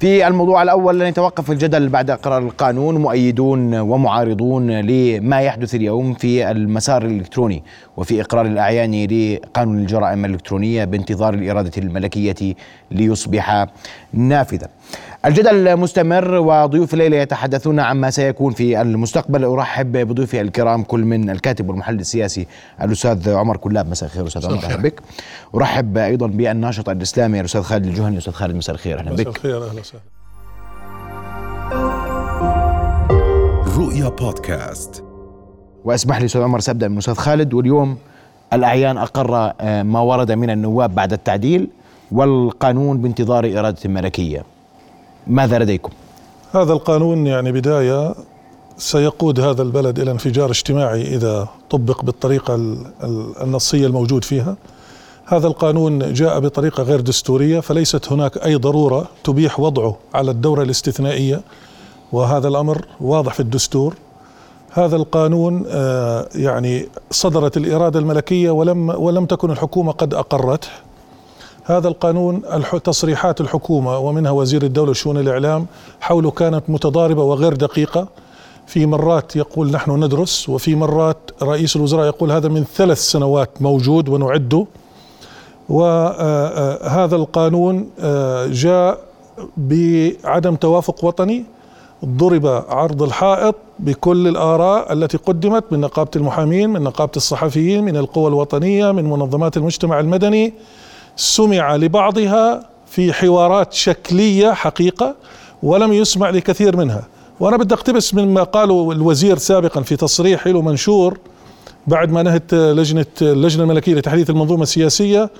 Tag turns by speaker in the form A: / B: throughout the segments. A: في الموضوع الأول لن يتوقف الجدل بعد قرار القانون مؤيدون ومعارضون لما يحدث اليوم في المسار الإلكتروني وفي إقرار الأعيان لقانون الجرائم الإلكترونية بانتظار الإرادة الملكية ليصبح نافذة الجدل مستمر وضيوف الليلة يتحدثون عما سيكون في المستقبل أرحب بضيوفي الكرام كل من الكاتب والمحلل السياسي الأستاذ عمر كلاب مساء الخير أستاذ عمر أهلا بك أرحب أيضا بالناشط الإسلامي الأستاذ خالد الجهني أستاذ خالد مساء الخير أهلا
B: مساء
A: بك
B: الخير اهلا وسهلا
C: رؤيا بودكاست
A: واسمح لي استاذ عمر سابدا من استاذ خالد واليوم الاعيان اقر آه، ما ورد من النواب بعد التعديل والقانون بانتظار اراده الملكيه ماذا لديكم؟
B: هذا القانون يعني بدايه سيقود هذا البلد الى انفجار اجتماعي اذا طبق بالطريقه ال- ال- النصيه الموجود فيها. هذا القانون جاء بطريقه غير دستوريه فليست هناك اي ضروره تبيح وضعه على الدوره الاستثنائيه وهذا الامر واضح في الدستور. هذا القانون آه، يعني صدرت الاراده الملكيه ولم ولم تكن الحكومه قد اقرته. هذا القانون الح- تصريحات الحكومه ومنها وزير الدوله وشؤون الاعلام حوله كانت متضاربه وغير دقيقه في مرات يقول نحن ندرس وفي مرات رئيس الوزراء يقول هذا من ثلاث سنوات موجود ونعده وهذا القانون آه، جاء بعدم توافق وطني ضرب عرض الحائط بكل الآراء التي قدمت من نقابة المحامين من نقابة الصحفيين من القوى الوطنية من منظمات المجتمع المدني سمع لبعضها في حوارات شكلية حقيقة ولم يسمع لكثير منها وأنا بدي أقتبس مما قاله الوزير سابقا في تصريح له منشور بعد ما نهت لجنة اللجنة الملكية لتحديث المنظومة السياسية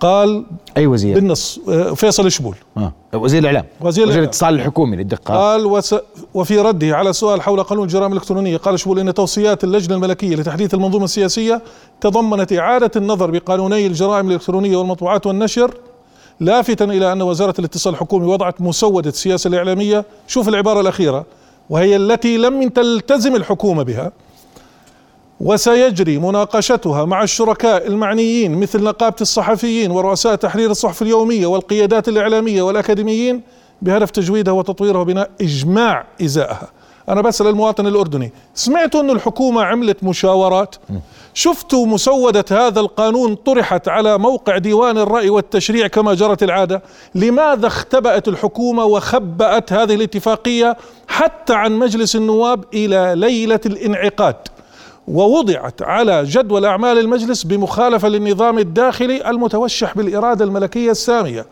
B: قال
A: اي وزير؟
B: بالنص آه، فيصل شبول
A: آه. وزير الاعلام
B: وزير
A: وزير
B: الإعلام. آه.
A: الاتصال الحكومي للدقه
B: قال وس... وفي رده على سؤال حول قانون الجرائم الإلكترونية قال شبول إن توصيات اللجنة الملكية لتحديث المنظومة السياسية تضمنت إعادة النظر بقانوني الجرائم الإلكترونية والمطبوعات والنشر لافتا إلى أن وزارة الاتصال الحكومي وضعت مسودة السياسة الإعلامية شوف العبارة الأخيرة وهي التي لم تلتزم الحكومة بها وسيجري مناقشتها مع الشركاء المعنيين مثل نقابة الصحفيين ورؤساء تحرير الصحف اليومية والقيادات الإعلامية والأكاديميين بهدف تجويدها وتطويرها وبناء إجماع إزائها أنا بسأل المواطن الأردني سمعتوا أن الحكومة عملت مشاورات شفتوا مسودة هذا القانون طرحت على موقع ديوان الرأي والتشريع كما جرت العادة لماذا اختبأت الحكومة وخبأت هذه الاتفاقية حتى عن مجلس النواب إلى ليلة الانعقاد ووضعت على جدول اعمال المجلس بمخالفه للنظام الداخلي المتوشح بالاراده الملكيه الساميه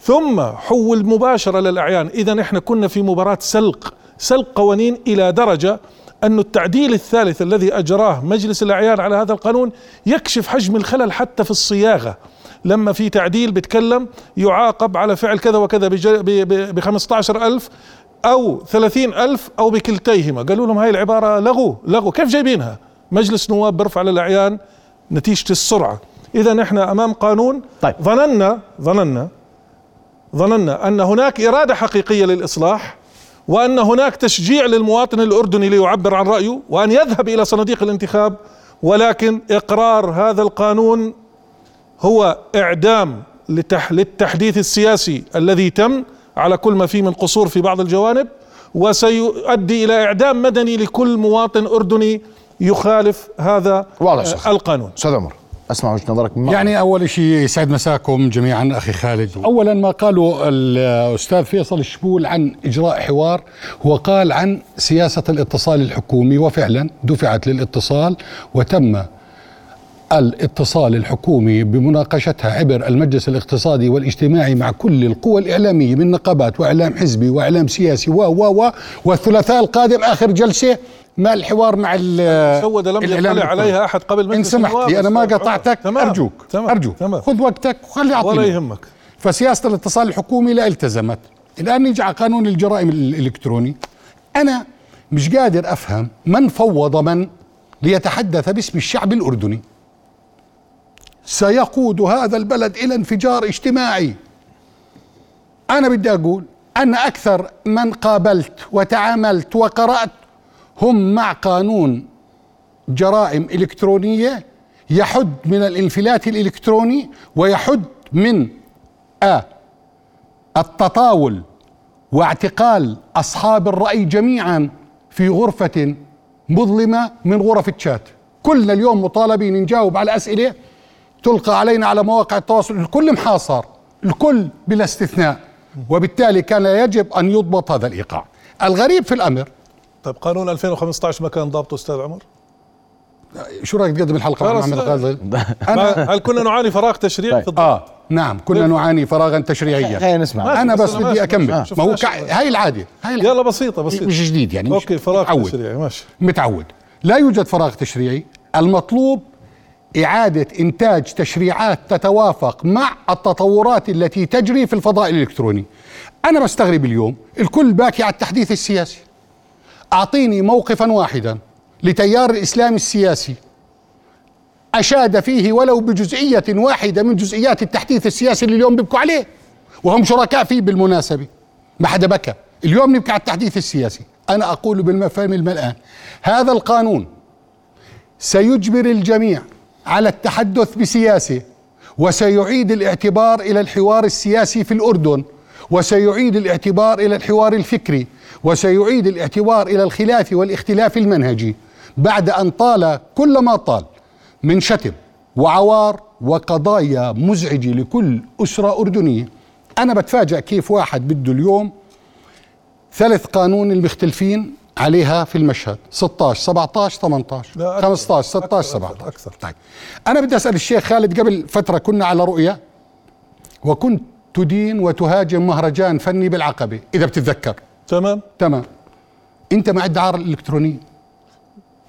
B: ثم حول مباشره للاعيان اذا احنا كنا في مباراه سلق سلق قوانين الى درجه أن التعديل الثالث الذي أجراه مجلس الأعيان على هذا القانون يكشف حجم الخلل حتى في الصياغة لما في تعديل بتكلم يعاقب على فعل كذا وكذا ب 15 ألف أو 30 ألف أو بكلتيهما قالوا لهم هاي العبارة لغو لغو كيف جايبينها مجلس نواب برفع على الأعيان نتيجة السرعة إذا إحنا أمام قانون
A: طيب.
B: ظننا ظننا ظننا ان هناك اراده حقيقيه للاصلاح وان هناك تشجيع للمواطن الاردني ليعبر عن رايه وان يذهب الى صناديق الانتخاب ولكن اقرار هذا القانون هو اعدام لتح للتحديث السياسي الذي تم على كل ما فيه من قصور في بعض الجوانب وسيؤدي الى اعدام مدني لكل مواطن اردني يخالف هذا
A: واضح
B: آه، القانون
A: استاذ عمر اسمع وجهه نظرك من
D: يعني اول شيء يسعد مساكم جميعا اخي خالد اولا ما قاله الاستاذ فيصل الشبول عن اجراء حوار هو قال عن سياسه الاتصال الحكومي وفعلا دفعت للاتصال وتم الاتصال الحكومي بمناقشتها عبر المجلس الاقتصادي والاجتماعي مع كل القوى الإعلامية من نقابات وإعلام حزبي وإعلام سياسي و و و والثلاثاء القادم آخر جلسة ما الحوار مع ال-
B: سودة لم
D: الإعلام
B: يطلع عليها أحد قبل
D: ان
B: مجلس
D: سمحت
B: النواب.
D: لي انا ما
B: أستاذ عمر.
D: قطعتك
B: تمام.
D: ارجوك
B: تمام.
D: ارجوك
B: تمام.
D: خذ وقتك وخلي
B: ولا
D: اعطيني
B: يهمك
D: فسياسه الاتصال الحكومي لا التزمت الان نيجي على قانون الجرائم الالكتروني انا مش قادر افهم من فوض من ليتحدث باسم الشعب الاردني سيقود هذا البلد الى انفجار اجتماعي انا بدي اقول ان اكثر من قابلت وتعاملت وقرات هم مع قانون جرائم إلكترونية يحد من الانفلات الإلكتروني ويحد من آ آه، التطاول واعتقال أصحاب الرأي جميعا في غرفة مظلمة من غرف الشات كلنا اليوم مطالبين نجاوب على أسئلة تلقى علينا على مواقع التواصل الكل محاصر الكل بلا استثناء وبالتالي كان يجب أن يضبط هذا الإيقاع الغريب في الأمر
B: طيب قانون 2015 ما كان ضابطه استاذ عمر؟
D: شو رايك تقدم الحلقة مع
B: خلاص.
D: محمد غازل
B: ما- هل كنا نعاني فراغ تشريعي
A: طيب.
B: في الضبط؟
D: آه نعم كنا نعاني فراغا تشريعيا
A: خلينا نسمع
B: ماشي.
D: أنا
B: بس
D: بس
B: أنا
D: بدي
B: ما
D: أكمل
B: شفت-
D: ما هو
B: شفناش
D: كع- هاي العادة هاي العادة
B: يلا بسيطة بسيطة
D: مش جديد يعني مش
B: اوكي فراغ
D: متعود.
B: تشريعي ماشي
D: متعود لا يوجد فراغ تشريعي المطلوب إعادة إنتاج تشريعات تتوافق مع التطورات التي تجري في الفضاء الإلكتروني أنا بستغرب اليوم الكل باكي على التحديث السياسي أعطيني موقفا واحدا لتيار الإسلام السياسي أشاد فيه ولو بجزئية واحدة من جزئيات التحديث السياسي اللي اليوم بيبكوا عليه وهم شركاء فيه بالمناسبة ما حدا بكى اليوم نبكي على التحديث السياسي أنا أقول بالمفهوم الملآن هذا القانون سيجبر الجميع على التحدث بسياسة وسيعيد الاعتبار إلى الحوار السياسي في الأردن وسيعيد الاعتبار إلى الحوار الفكري وسيعيد الاعتبار إلى الخلاف والاختلاف المنهجي بعد أن طال كل ما طال من شتم وعوار وقضايا مزعجة لكل أسرة أردنية أنا بتفاجأ كيف واحد بده اليوم ثالث قانون المختلفين عليها في المشهد 16 17
B: لا،
D: 18
B: أكثر.
D: 15 16
B: أكثر،
D: 17
B: أكثر.
D: طيب انا بدي اسال الشيخ خالد قبل فتره كنا على رؤيا وكنت تدين وتهاجم مهرجان فني بالعقبه اذا بتتذكر
B: تمام
D: تمام انت مع الدعاره الالكترونيه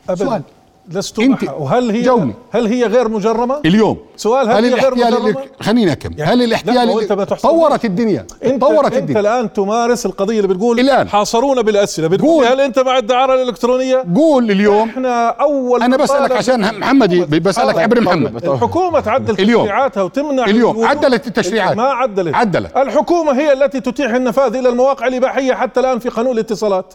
B: أبدا
D: سؤال.
B: لست
D: أنت
B: معها وهل هي
D: جاوبني.
B: هل هي غير مجرمة؟
D: اليوم
B: سؤال، هل هي غير
D: الاحتيال
B: مجرمة؟
D: الإلك- خليني اكمل
B: يعني-
D: هل
B: لا،
D: الاحتيال
B: هو أنت ما
D: الإلك-
B: تحسب-
D: طورت الدنيا
B: انت
D: طورت
B: انت
D: الدنيا
B: الان تمارس القضيه اللي بتقول
D: الآن.
B: حاصرونا بالاسئله بتقول
D: قول.
B: هل انت مع الدعاره الالكترونيه؟
D: قول اليوم
B: احنا اول
D: انا
B: من
D: بسالك
B: طالب-
D: عشان محمدي بسالك
B: طبعاً،
D: عبر
A: طبعاً،
D: محمد
A: طبعاً.
B: الحكومه تعدل
D: اليوم.
B: تشريعاتها وتمنع
D: اليوم.
B: الوجود.
D: عدلت التشريعات.
B: ما عدلت
D: عدلت.
B: الحكومه هي التي تتيح النفاذ الى المواقع الاباحيه حتى الان في قانون الاتصالات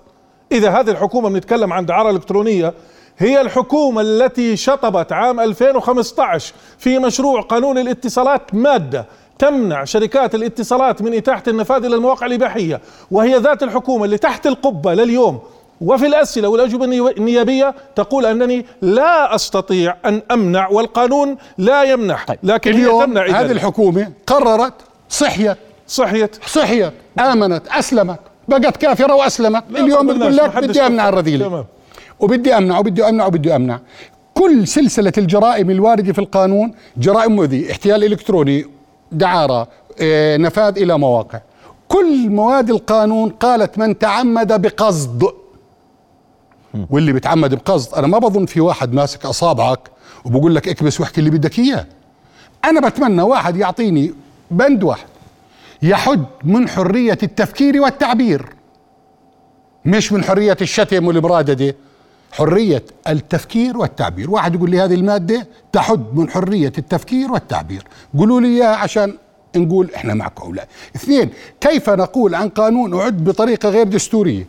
B: اذا هذه الحكومه بنتكلم عن دعاره الكترونيه هي الحكومة التي شطبت عام 2015 في مشروع قانون الاتصالات مادة تمنع شركات الاتصالات من إتاحة النفاذ إلى المواقع الإباحية وهي ذات الحكومة اللي تحت القبة لليوم وفي الأسئلة والأجوبة النيو- النيابية تقول أنني لا أستطيع أن أمنع والقانون لا يمنح لكن هي
D: طيب، اليوم
B: تمنع إذن.
D: هذه الحكومه قررت صحيت
B: صحيت
D: صحيت امنت اسلمت بقت كافره واسلمت
B: لا،
D: اليوم
B: ما
D: بتقول
B: قلناش،
D: لك
B: ما حدش
D: بدي امنع
B: قال.
D: الرذيله
B: تمام.
D: وبدي امنع وبدي امنع وبدي امنع كل سلسله الجرائم الوارده في القانون جرائم مؤذيه احتيال الكتروني دعاره آه، نفاذ الى مواقع كل مواد القانون قالت من تعمد بقصد واللي بيتعمد بقصد انا ما بظن في واحد ماسك اصابعك وبقول لك اكبس واحكي اللي بدك اياه انا بتمنى واحد يعطيني بند واحد يحد من حريه التفكير والتعبير مش من حريه الشتم والمرادده حريه التفكير والتعبير واحد يقول لي هذه الماده تحد من حريه التفكير والتعبير قولوا لي اياها عشان نقول احنا معكم او لا اثنين كيف نقول عن قانون اعد بطريقه غير دستوريه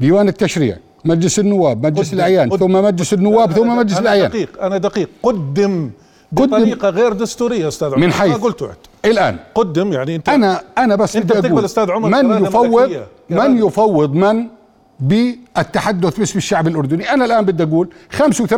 D: ديوان التشريع مجلس النواب مجلس
B: قدم-
D: الاعيان
B: قدم-
D: ثم مجلس النواب ثم مجلس
B: أنا
D: الاعيان
B: دقيق أنا دقيق قدم
D: قدم.
B: بطريقة غير دستورية أستاذ عمر.
D: من
B: ما
D: حيث
B: قلت أعد.
D: الان
B: قدم يعني أنت
D: انا انا بس
B: أنت
D: بدي
B: بتقبل
D: أقول
B: أستاذ عمر
D: من
B: إرادة
D: يفوض
B: ملكية.
D: من
B: إرادة.
D: يفوض من بالتحدث باسم الشعب الاردني انا الان بدي اقول 85%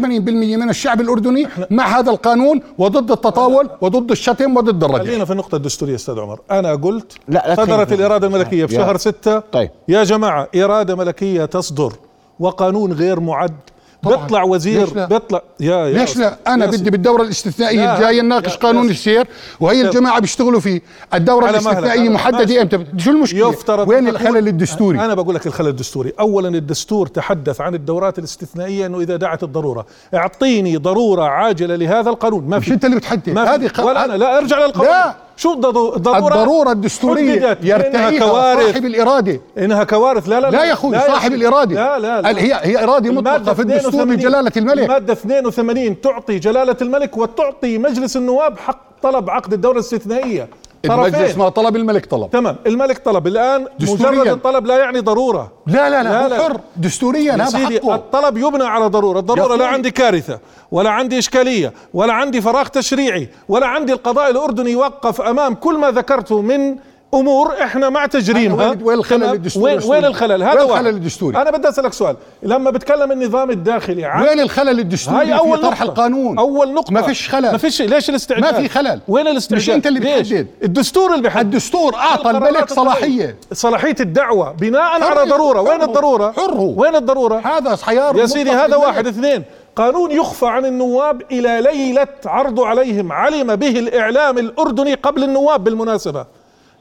D: من الشعب الاردني مع هذا القانون وضد التطاول وضد الشتم وضد الرجل
B: خلينا في النقطة الدستورية استاذ عمر، أنا قلت
A: لا، لا
B: صدرت
A: تخيل.
B: الإرادة الملكية في
A: يا.
B: شهر ستة
A: طيب.
B: يا جماعة إرادة ملكية تصدر وقانون غير معد
D: طبعاً.
B: بيطلع وزير
D: ليش لا؟
B: بيطلع يا يا
D: ليش لا انا
B: يا
D: بدي بالدوره الاستثنائيه
B: لا،
D: الجايه نناقش
B: لا،
D: قانون
B: لا.
D: السير وهي
B: لا.
D: الجماعه بيشتغلوا فيه الدوره
B: على مهلك،
D: الاستثنائيه
B: على مهلك. ماشي.
D: محدده امتى شو المشكله
B: يفترض أن
D: وين
B: يكون-
D: الخلل الدستوري
B: انا بقول لك الخلل الدستوري اولا الدستور تحدث عن الدورات الاستثنائيه انه اذا دعت الضروره اعطيني ضروره عاجله لهذا القانون ما
D: مش
B: في
D: انت اللي بتحدد
B: ما
D: هذه
B: في ولا انا لا ارجع للقانون
D: لا.
B: شو الضرو- الضروره
D: الضروره الدستوريه
B: حددت إنها
D: يرتعيها
B: كوارث
D: صاحب الاراده
B: انها كوارث لا لا
D: لا يا اخوي صاحب
B: يا-
D: الاراده
B: لا لا, لا.
D: ال- هي هي اراده مطلقه
B: المادة
D: في الدستور
B: 82
D: من جلاله الملك
B: المادة 82 تعطي جلالة الملك وتعطي مجلس النواب حق طلب عقد الدورة الاستثنائية
D: المجلس
B: طرفين
D: ما طلب الملك طلب
B: تمام الملك طلب الآن
D: دستورياً.
B: مجرد الطلب لا يعني ضرورة
D: لا لا لا,
B: لا، لا.
D: هو حر دستوريا
B: يا
D: هذا
B: سيدي
D: حقه
B: الطلب يبنى على ضرورة الضرورة
D: يا
B: لا
D: أخوي.
B: عندي كارثة ولا عندي إشكالية ولا عندي فراغ تشريعي ولا عندي القضاء الأردني وقف أمام كل ما ذكرته من امور احنا مع تجريمها
D: وين- وين الخلل
B: تمام؟
D: الدستوري
B: وين,
D: السوري؟
B: وين الخلل هذا واحد.
D: وين الخلل الدستوري؟
B: انا بدي اسالك سؤال لما بتكلم النظام الداخلي عن
D: وين الخلل الدستوري
B: هاي
D: في
B: اول
D: طرح
B: نقطة.
D: القانون
B: اول نقطه
D: ما فيش خلل
B: ما فيش ليش الاستعداد
D: ما في خلل.
B: وين الاستعداد
D: مش أنت اللي
B: ليش؟
D: بتحدد.
B: الدستور اللي بيحدد
D: الدستور اعطى
B: القرارات
D: الملك
B: الدولية.
D: صلاحيه
B: صلاحيه الدعوه بناء
D: حر-
B: على ضروره وين
D: حره.
B: الضروره
D: حره.
B: وين الضروره
D: هذا خيار
B: يا سيدي
D: مطلق
B: هذا
D: للملك.
B: واحد اثنين قانون يخفى عن النواب إلى ليلة عرضه عليهم علم به الإعلام الأردني قبل النواب بالمناسبة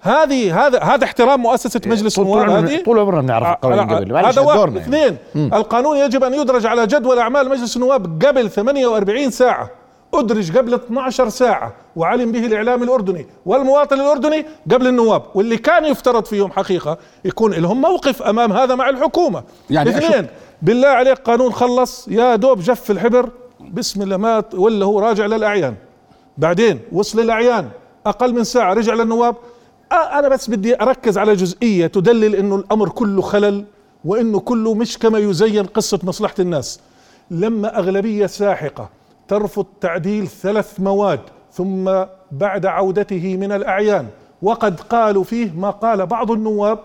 B: هذه هذا هذا احترام مؤسسة مجلس
A: إيه، طول- طول
B: النواب
A: عمرنا-
B: هذه
A: طول عمرنا بنعرف القوانين
B: على-
A: قبل. معلش،
B: هذا واحد
A: دورنا يعني.
B: اثنين القانون يجب أن يدرج على جدول أعمال مجلس النواب قبل 48 ساعة أدرج قبل 12 ساعة وعلم به الإعلام الأردني والمواطن الأردني قبل النواب واللي كان يفترض فيهم حقيقة يكون لهم موقف أمام هذا مع الحكومة
D: يعني أشوف-
B: اثنين بالله عليك قانون خلص يا دوب جف الحبر بسم الله مات ولا هو راجع للاعيان بعدين وصل للاعيان اقل من ساعه رجع للنواب آه، انا بس بدي اركز على جزئيه تدلل انه الامر كله خلل وانه كله مش كما يزين قصه مصلحه الناس لما اغلبيه ساحقه ترفض تعديل ثلاث مواد ثم بعد عودته من الاعيان وقد قالوا فيه ما قال بعض النواب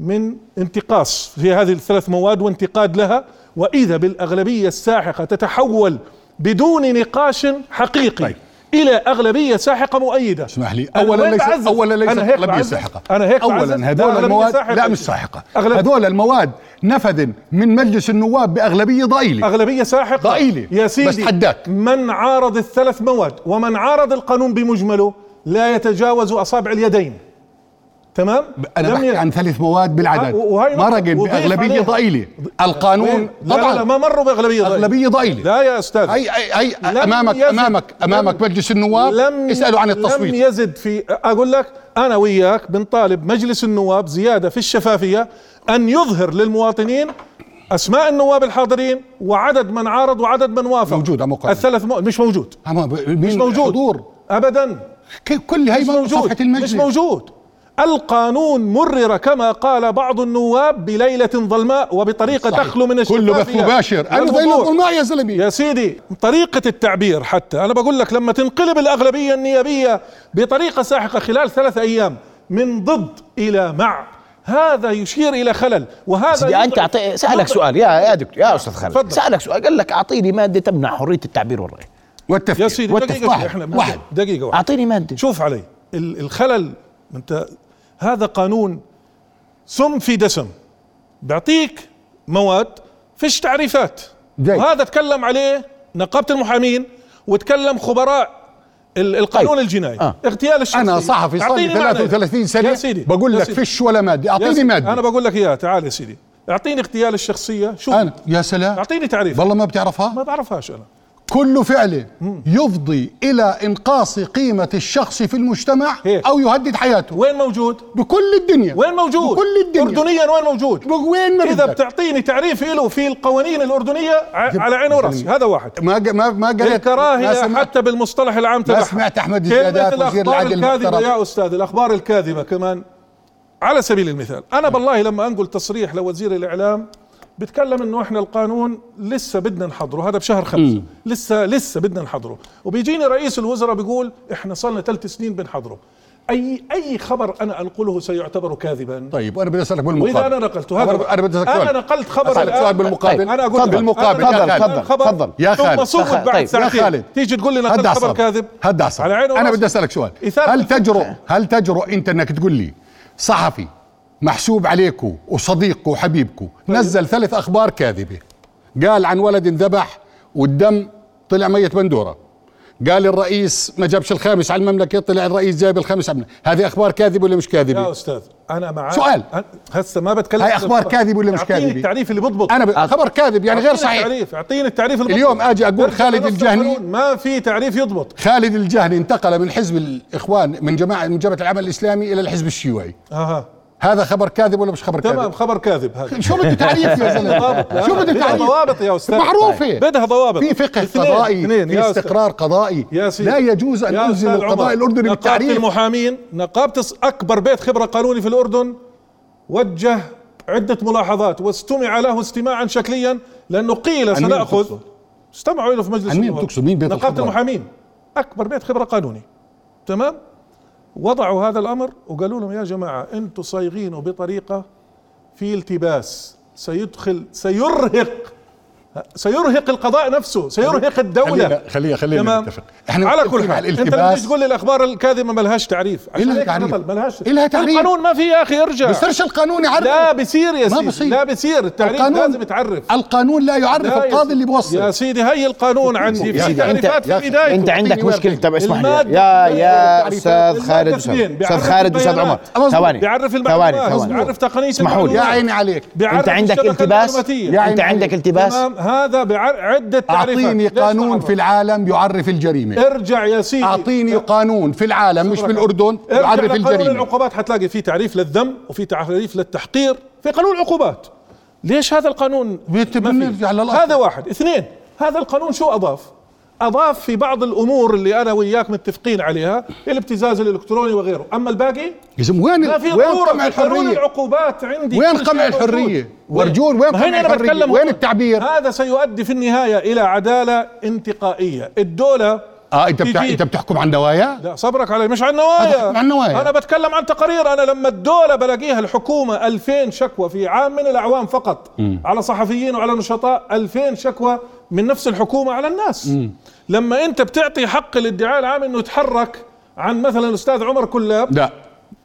B: من انتقاص في هذه الثلاث مواد وانتقاد لها واذا بالاغلبيه الساحقه تتحول بدون نقاش حقيقي
D: طيب.
B: طيب. الى اغلبيه ساحقه مؤيده
D: اسمح لي
B: أنا
D: اولا
B: وين
D: ليس
B: بعزز؟
D: اولا ليس
B: أنا هيك
D: اغلبيه
B: بعزز؟
D: ساحقه
B: انا هيك بعزز؟
D: اولا
B: لا،
D: هذول
B: أغلبية
D: المواد
B: ساحقة.
D: لا مش ساحقه
B: أغلب-
D: هذول المواد نفذ من مجلس النواب باغلبيه ضئيله
B: اغلبيه ساحقه
D: ضئيلة.
B: يا سيدي
D: بس حداك.
B: من عارض الثلاث مواد ومن عارض القانون بمجمله لا يتجاوز اصابع اليدين تمام
D: انا
B: لم
D: بحكي
B: ي-
D: عن ثلاث مواد بالعدد
B: و- وهي نقطة.
D: مرقن
B: وضيف
D: باغلبيه
B: عليها.
D: ضئيله القانون
B: إيه، لا, لا, لا
D: طبعا
B: ما مروا باغلبيه ضئيلة.
D: اغلبيه ضئيله
B: لا يا استاذ
D: اي اي اي
B: لم
D: امامك
B: يزد-
D: امامك
B: لم-
D: امامك مجلس النواب اسالوا عن
B: لم
D: التصويت
B: يزد في اقول لك انا وياك بنطالب مجلس النواب زياده في الشفافيه ان يظهر للمواطنين اسماء النواب الحاضرين وعدد من عارض وعدد من وافق
D: موجود، أما قانون.
B: الثلاث مو... مش موجود
D: أما ب- مين
B: مش موجود
D: حضور
B: ابدا
D: كي- كل هي
B: مش
D: مو- صفحه
B: موجود
D: المجلس
B: مش موجود القانون مرر كما قال بعض النواب بليلة ظلماء وبطريقة
D: صحيح.
B: تخلو من الشفافية
D: كله بث مباشر انا
B: والوضوح.
D: ضئيل يا زلمه
B: يا سيدي طريقة التعبير حتى أنا بقول لك لما تنقلب الأغلبية النيابية بطريقة ساحقة خلال ثلاثة أيام من ضد إلى مع هذا يشير إلى خلل وهذا
A: سيدي
B: يضع-
A: انت اعطي سالك
B: يضع-
A: سؤال يا يا دكتور يا استاذ خالد
B: تفضل.
A: سالك سؤال قال لك اعطيني ماده تمنع حريه التعبير والراي
D: والتفكير
B: يا سيدي
A: وقف.
B: دقيقة
A: واحد.
B: شوي، احنا
A: واحد.
B: دقيقة واحد
A: اعطيني ماده
B: شوف علي ال- الخلل انت هذا قانون سم في دسم بيعطيك مواد فيش تعريفات
D: جاي.
B: وهذا تكلم عليه نقابه المحامين وتكلم خبراء ال- القانون
A: طيب.
B: الجنائي
A: آه.
B: اغتيال الشخصي
D: انا صحفي صار لي
B: أعطيني معنى.
D: 33 سنه
B: يا سيدي
D: بقول
B: يا
D: لك
B: سيدي.
D: فيش ولا ماده
B: يا
D: اعطيني
B: سيدي.
D: ماده
B: انا بقول لك اياها تعال يا سيدي اعطيني اغتيال الشخصيه شوف
D: انا يا سلام
B: اعطيني تعريف
D: والله ما بتعرفها
B: ما بعرفهاش انا
D: كل فعل يفضي الى انقاص قيمه الشخص في المجتمع
B: هيك.
D: او يهدد حياته
B: وين موجود
D: بكل الدنيا
B: إيه؟ وين موجود
D: بكل الدنيا
B: اردنيا وين موجود
D: ب- وين ما
B: اذا
D: بدك.
B: بتعطيني تعريف له في القوانين الاردنيه ع- على عيني وراسي هذا واحد
D: ما ج- ما ما قريت ما
B: الكراهيه
D: سمعت.
B: حتى بالمصطلح العام تبعها
D: سمعت أحمد
B: كلمة
D: الزيادات وزير
B: الاخبار
D: العدل
B: الكاذبه
D: المحترم.
B: يا استاذ الاخبار الكاذبه كمان على سبيل المثال انا بالله لما انقل تصريح لوزير الاعلام بتكلم انه احنا القانون لسه بدنا نحضره هذا بشهر خمسة لسه لسه بدنا نحضره وبيجيني رئيس الوزراء بيقول احنا صار لنا ثلاث سنين بنحضره اي اي خبر انا انقله سيعتبر كاذبا
D: طيب وانا بدي اسالك بالمقابل
B: واذا انا نقلته هذا
D: انا بدي اسالك
B: انا
D: سؤال.
B: نقلت خبر
D: اسالك
B: الآن.
D: سؤال بالمقابل
A: طيب،
B: انا اقول لك.
D: بالمقابل
B: أنا
D: يا
A: تفضل،
B: نقلت
D: خالد
A: تفضل.
B: خبر
A: تفضل.
D: يا خالد.
B: ثم صوت
A: تفضل.
B: بعد
A: طيب، يا
B: ساعتين
D: خالد.
B: تيجي تقول لي
D: هد
B: نقلت خبر
D: اعصابك
B: كاذب
D: هد اعصابك
B: على عيني
D: انا
B: وراسي.
D: بدي اسالك سؤال
B: إثارة
D: هل
B: الفتنة.
D: تجرؤ هل تجرؤ انت انك تقول لي صحفي محسوب عليكم وصديقكم وحبيبكم
B: طيب.
D: نزل ثلاث اخبار كاذبه قال عن ولد انذبح والدم طلع ميه بندوره قال الرئيس ما جابش الخامس على المملكه طلع الرئيس جايب الخامس على المملكة. هذه اخبار كاذبه ولا مش
B: يا
D: كاذبه
B: استاذ انا معك
D: سؤال.
B: أنا- هسه ما بتكلم
D: هاي أخبار كاذبة ولا مش
B: اعطيني
D: كاذبة؟
B: التعريف اللي بيضبط
D: انا ب... خبر كاذب يعني غير
B: أعطيني
D: صحيح
B: التعريف اعطيني التعريف اللي
D: اليوم
B: بيضبط.
D: أجي أقول
B: نرجع
D: خالد
B: لنص
D: الجهني.
B: القانون، ما في تعريف يضبط
D: خالد الجهني انتقل من حزب الاخوان من جماعه من جبهه العمل الاسلامي الى الحزب الشيوعي
B: اها
D: هذا خبر كاذب ولا مش خبر
B: تمام
D: كاذب
B: خبر كاذب هذا
D: شو بده تعريف يا زلمه
B: ضابط.
D: شو بده
B: بدها
D: تعريف
B: ضوابط يا أستاذ.
D: معروفه
B: بدها ضوابط
D: في فقه
B: اثنين-
D: قضائي
B: اثنين
D: في
B: يا أستاذ.
D: استقرار قضائي
B: يا سيدي
D: لا يجوز ان
B: يا أستاذ
D: نلزم
B: عمر،
D: القضاء الاردني
B: نقابة
D: بالتعريف
B: المحامين نقابة الس- أكبر بيت خبرة قانوني في الأردن وجه عدة ملاحظات واستمع له استماعا شكليا لأنه قيل
D: مين
B: سنأخذ
D: بتقصد؟
B: استمعوا له في مجلس
D: عن مين
B: النواب.
D: بتقصد؟ مين بيت
B: نقابة
D: الخبراء؟
B: المحامين أكبر بيت خبرة قانوني تمام وضعوا هذا الامر وقالوا لهم يا جماعه انتم صايغينه بطريقه في التباس سيدخل سيرهق سيرهق القضاء نفسه سيرهق الدوله
D: خلينا خلينا خلينا
B: تمام.
D: نتفق احنا
B: على
D: متفقين
B: كل
D: مع
B: حال انت لما
D: الالتباس
B: تيجي تقول لي الاخبار الكاذبه ما لهاش تعريف عشان
D: إلها
B: هيك أنا
D: تعريف.
B: بطل، ما لهاش
D: إلها تعريف.
B: القانون ما في يا اخي ارجع
D: بصيرش القانون يعرف
B: لا بصير يا
D: ما
B: سيدي
D: بصير.
B: لا بصير التعريف لازم يتعرف
D: القانون لا يعرف
B: لا يا
D: القاضي
B: سيدي.
D: اللي
B: يا
D: بوصل
B: سيدي هي القانون عندي
A: يا
B: في
A: سيدي، أنت-
B: تعريفات
D: يا
B: في
D: أخي،
B: بدايته
A: انت عندك
D: أعطيني
A: مشكله
D: وردين.
A: طب اسمح لي
B: المادة
A: يا
B: الاثنين
A: يا
B: بيعرف-
A: استاذ
B: المادة
A: خالد
B: الاثنين
A: استاذ
B: بيعرف
A: خالد واستاذ عمر
B: البيانات.
D: مظبوط.
A: ثواني
B: بيعرف
A: ثواني
B: المعلومات
A: ثواني
B: بيعرف تقنيه
A: اسمحوا لي.
D: يا
B: المعلومات.
D: عيني عليك
B: بيعرف
A: انت عندك
B: الشبكة
A: التباس
B: المعلوماتية.
D: يا
A: انت
D: عيني
A: عندك
D: عليك.
A: التباس
B: تمام هذا بعر... عدة تعريفات
D: اعطيني
B: ليش
D: قانون
B: تعرف؟
D: في العالم يعرف الجريمه
B: ارجع يا سيدي
D: اعطيني قانون في العالم مش
B: شكراً.
D: بالاردن
B: ارجع
D: يعرف
B: لقانون
D: الجريمه
B: إيه، العقوبات حتلاقي في تعريف للذم وفي تعريف للتحقير في قانون العقوبات ليش هذا القانون
D: بيتبني
B: ما فيه؟
D: على الأصل.
B: هذا واحد اثنين هذا القانون شو اضاف اضاف في بعض الامور اللي انا وياك متفقين عليها الابتزاز الالكتروني وغيره اما الباقي
D: يا زلمه وين
B: ما في
D: وين
B: ضروره
D: قمع
B: في قانون
D: الحريه
B: العقوبات عندي
D: وين
B: كل
D: قمع
B: شيء موجود.
D: الحرية؟ وارجون وين
B: ما
D: قمع
B: هنا أنا
D: الحرية؟
B: بتكلم
D: وين
B: هون.
D: التعبير؟
B: هذا سيؤدي في النهايه الى عداله انتقائيه الدوله
D: اه انت بتح...
B: تجي-
D: انت بتحكم عن دوايا
B: لا صبرك علي مش عن نوايا
D: أنا عن نوايا.
B: انا بتكلم عن تقارير انا لما الدوله بلاقيها الحكومه 2000 شكوى في عام من الاعوام فقط على صحفيين وعلى نشطاء 2000 شكوى من نفس الحكومه على الناس لما انت بتعطي حق الادعاء العام انه يتحرك عن مثلا الاستاذ عمر كلاب
D: لا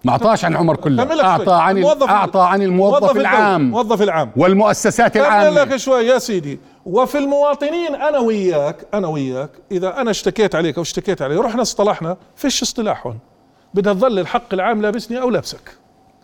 D: ما اعطاش عن عمر
B: كملك
D: كله
B: شوي.
D: اعطى عن
B: الموظف-
D: اعطى عن الموظف
B: موظف الدولة،
D: العام
B: موظف العام
D: والمؤسسات
B: كمل
D: العامه
B: لك شوي يا سيدي وفي المواطنين انا وياك انا وياك اذا انا اشتكيت عليك او اشتكيت عليه رحنا اصطلحنا فيش اصطلاح هون بدها تظل الحق العام لابسني او لابسك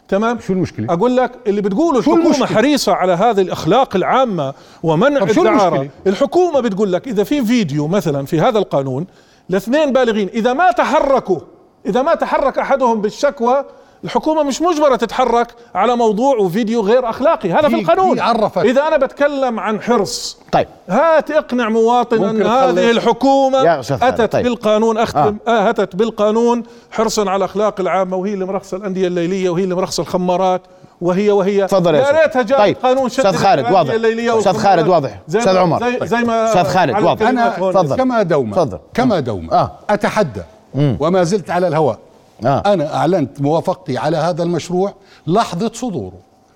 B: تمام
D: شو المشكلة؟
B: اقول لك اللي بتقوله الحكومه
D: المشكلة؟
B: حريصه على هذه الاخلاق العامه ومنع
D: طب شو
B: الدعاره
D: المشكلة؟
B: الحكومه بتقول لك اذا في فيديو مثلا في هذا القانون لاثنين بالغين اذا ما تحركوا اذا ما تحرك احدهم بالشكوى الحكومه مش مجبره تتحرك على موضوع وفيديو غير اخلاقي هذا في
D: هي-
B: القانون
D: هي عرفت.
B: اذا انا بتكلم عن حرص
A: طيب
B: هات اقنع مواطن ان
D: ممكن
B: هذه
D: تخلص.
B: الحكومه
A: يا أستاذ خالد،
B: اتت
A: طيب.
B: بالقانون اختم آه. اتت بالقانون حرصا على الاخلاق العامه وهي اللي مرخصه الانديه الليليه وهي اللي مرخصه الخمارات وهي وهي
A: تفضل يا
B: يا
A: أستاذ.
B: ريتها جاء
A: طيب.
B: قانون
A: أستاذ خالد، واضح. أستاذ خالد، واضح. أستاذ عمر.
B: زي,
A: طيب.
B: زي ما
A: أستاذ خالد،
B: على
A: واضح.
B: الكلمات
D: انا
B: هون.
A: تفضل.
D: كما دوما
A: تفضل.
D: كما دوما
A: آه.
D: اتحدى
A: مم.
D: وما زلت على الهواء
A: آه.
D: انا اعلنت موافقتي على هذا المشروع لحظه صدوره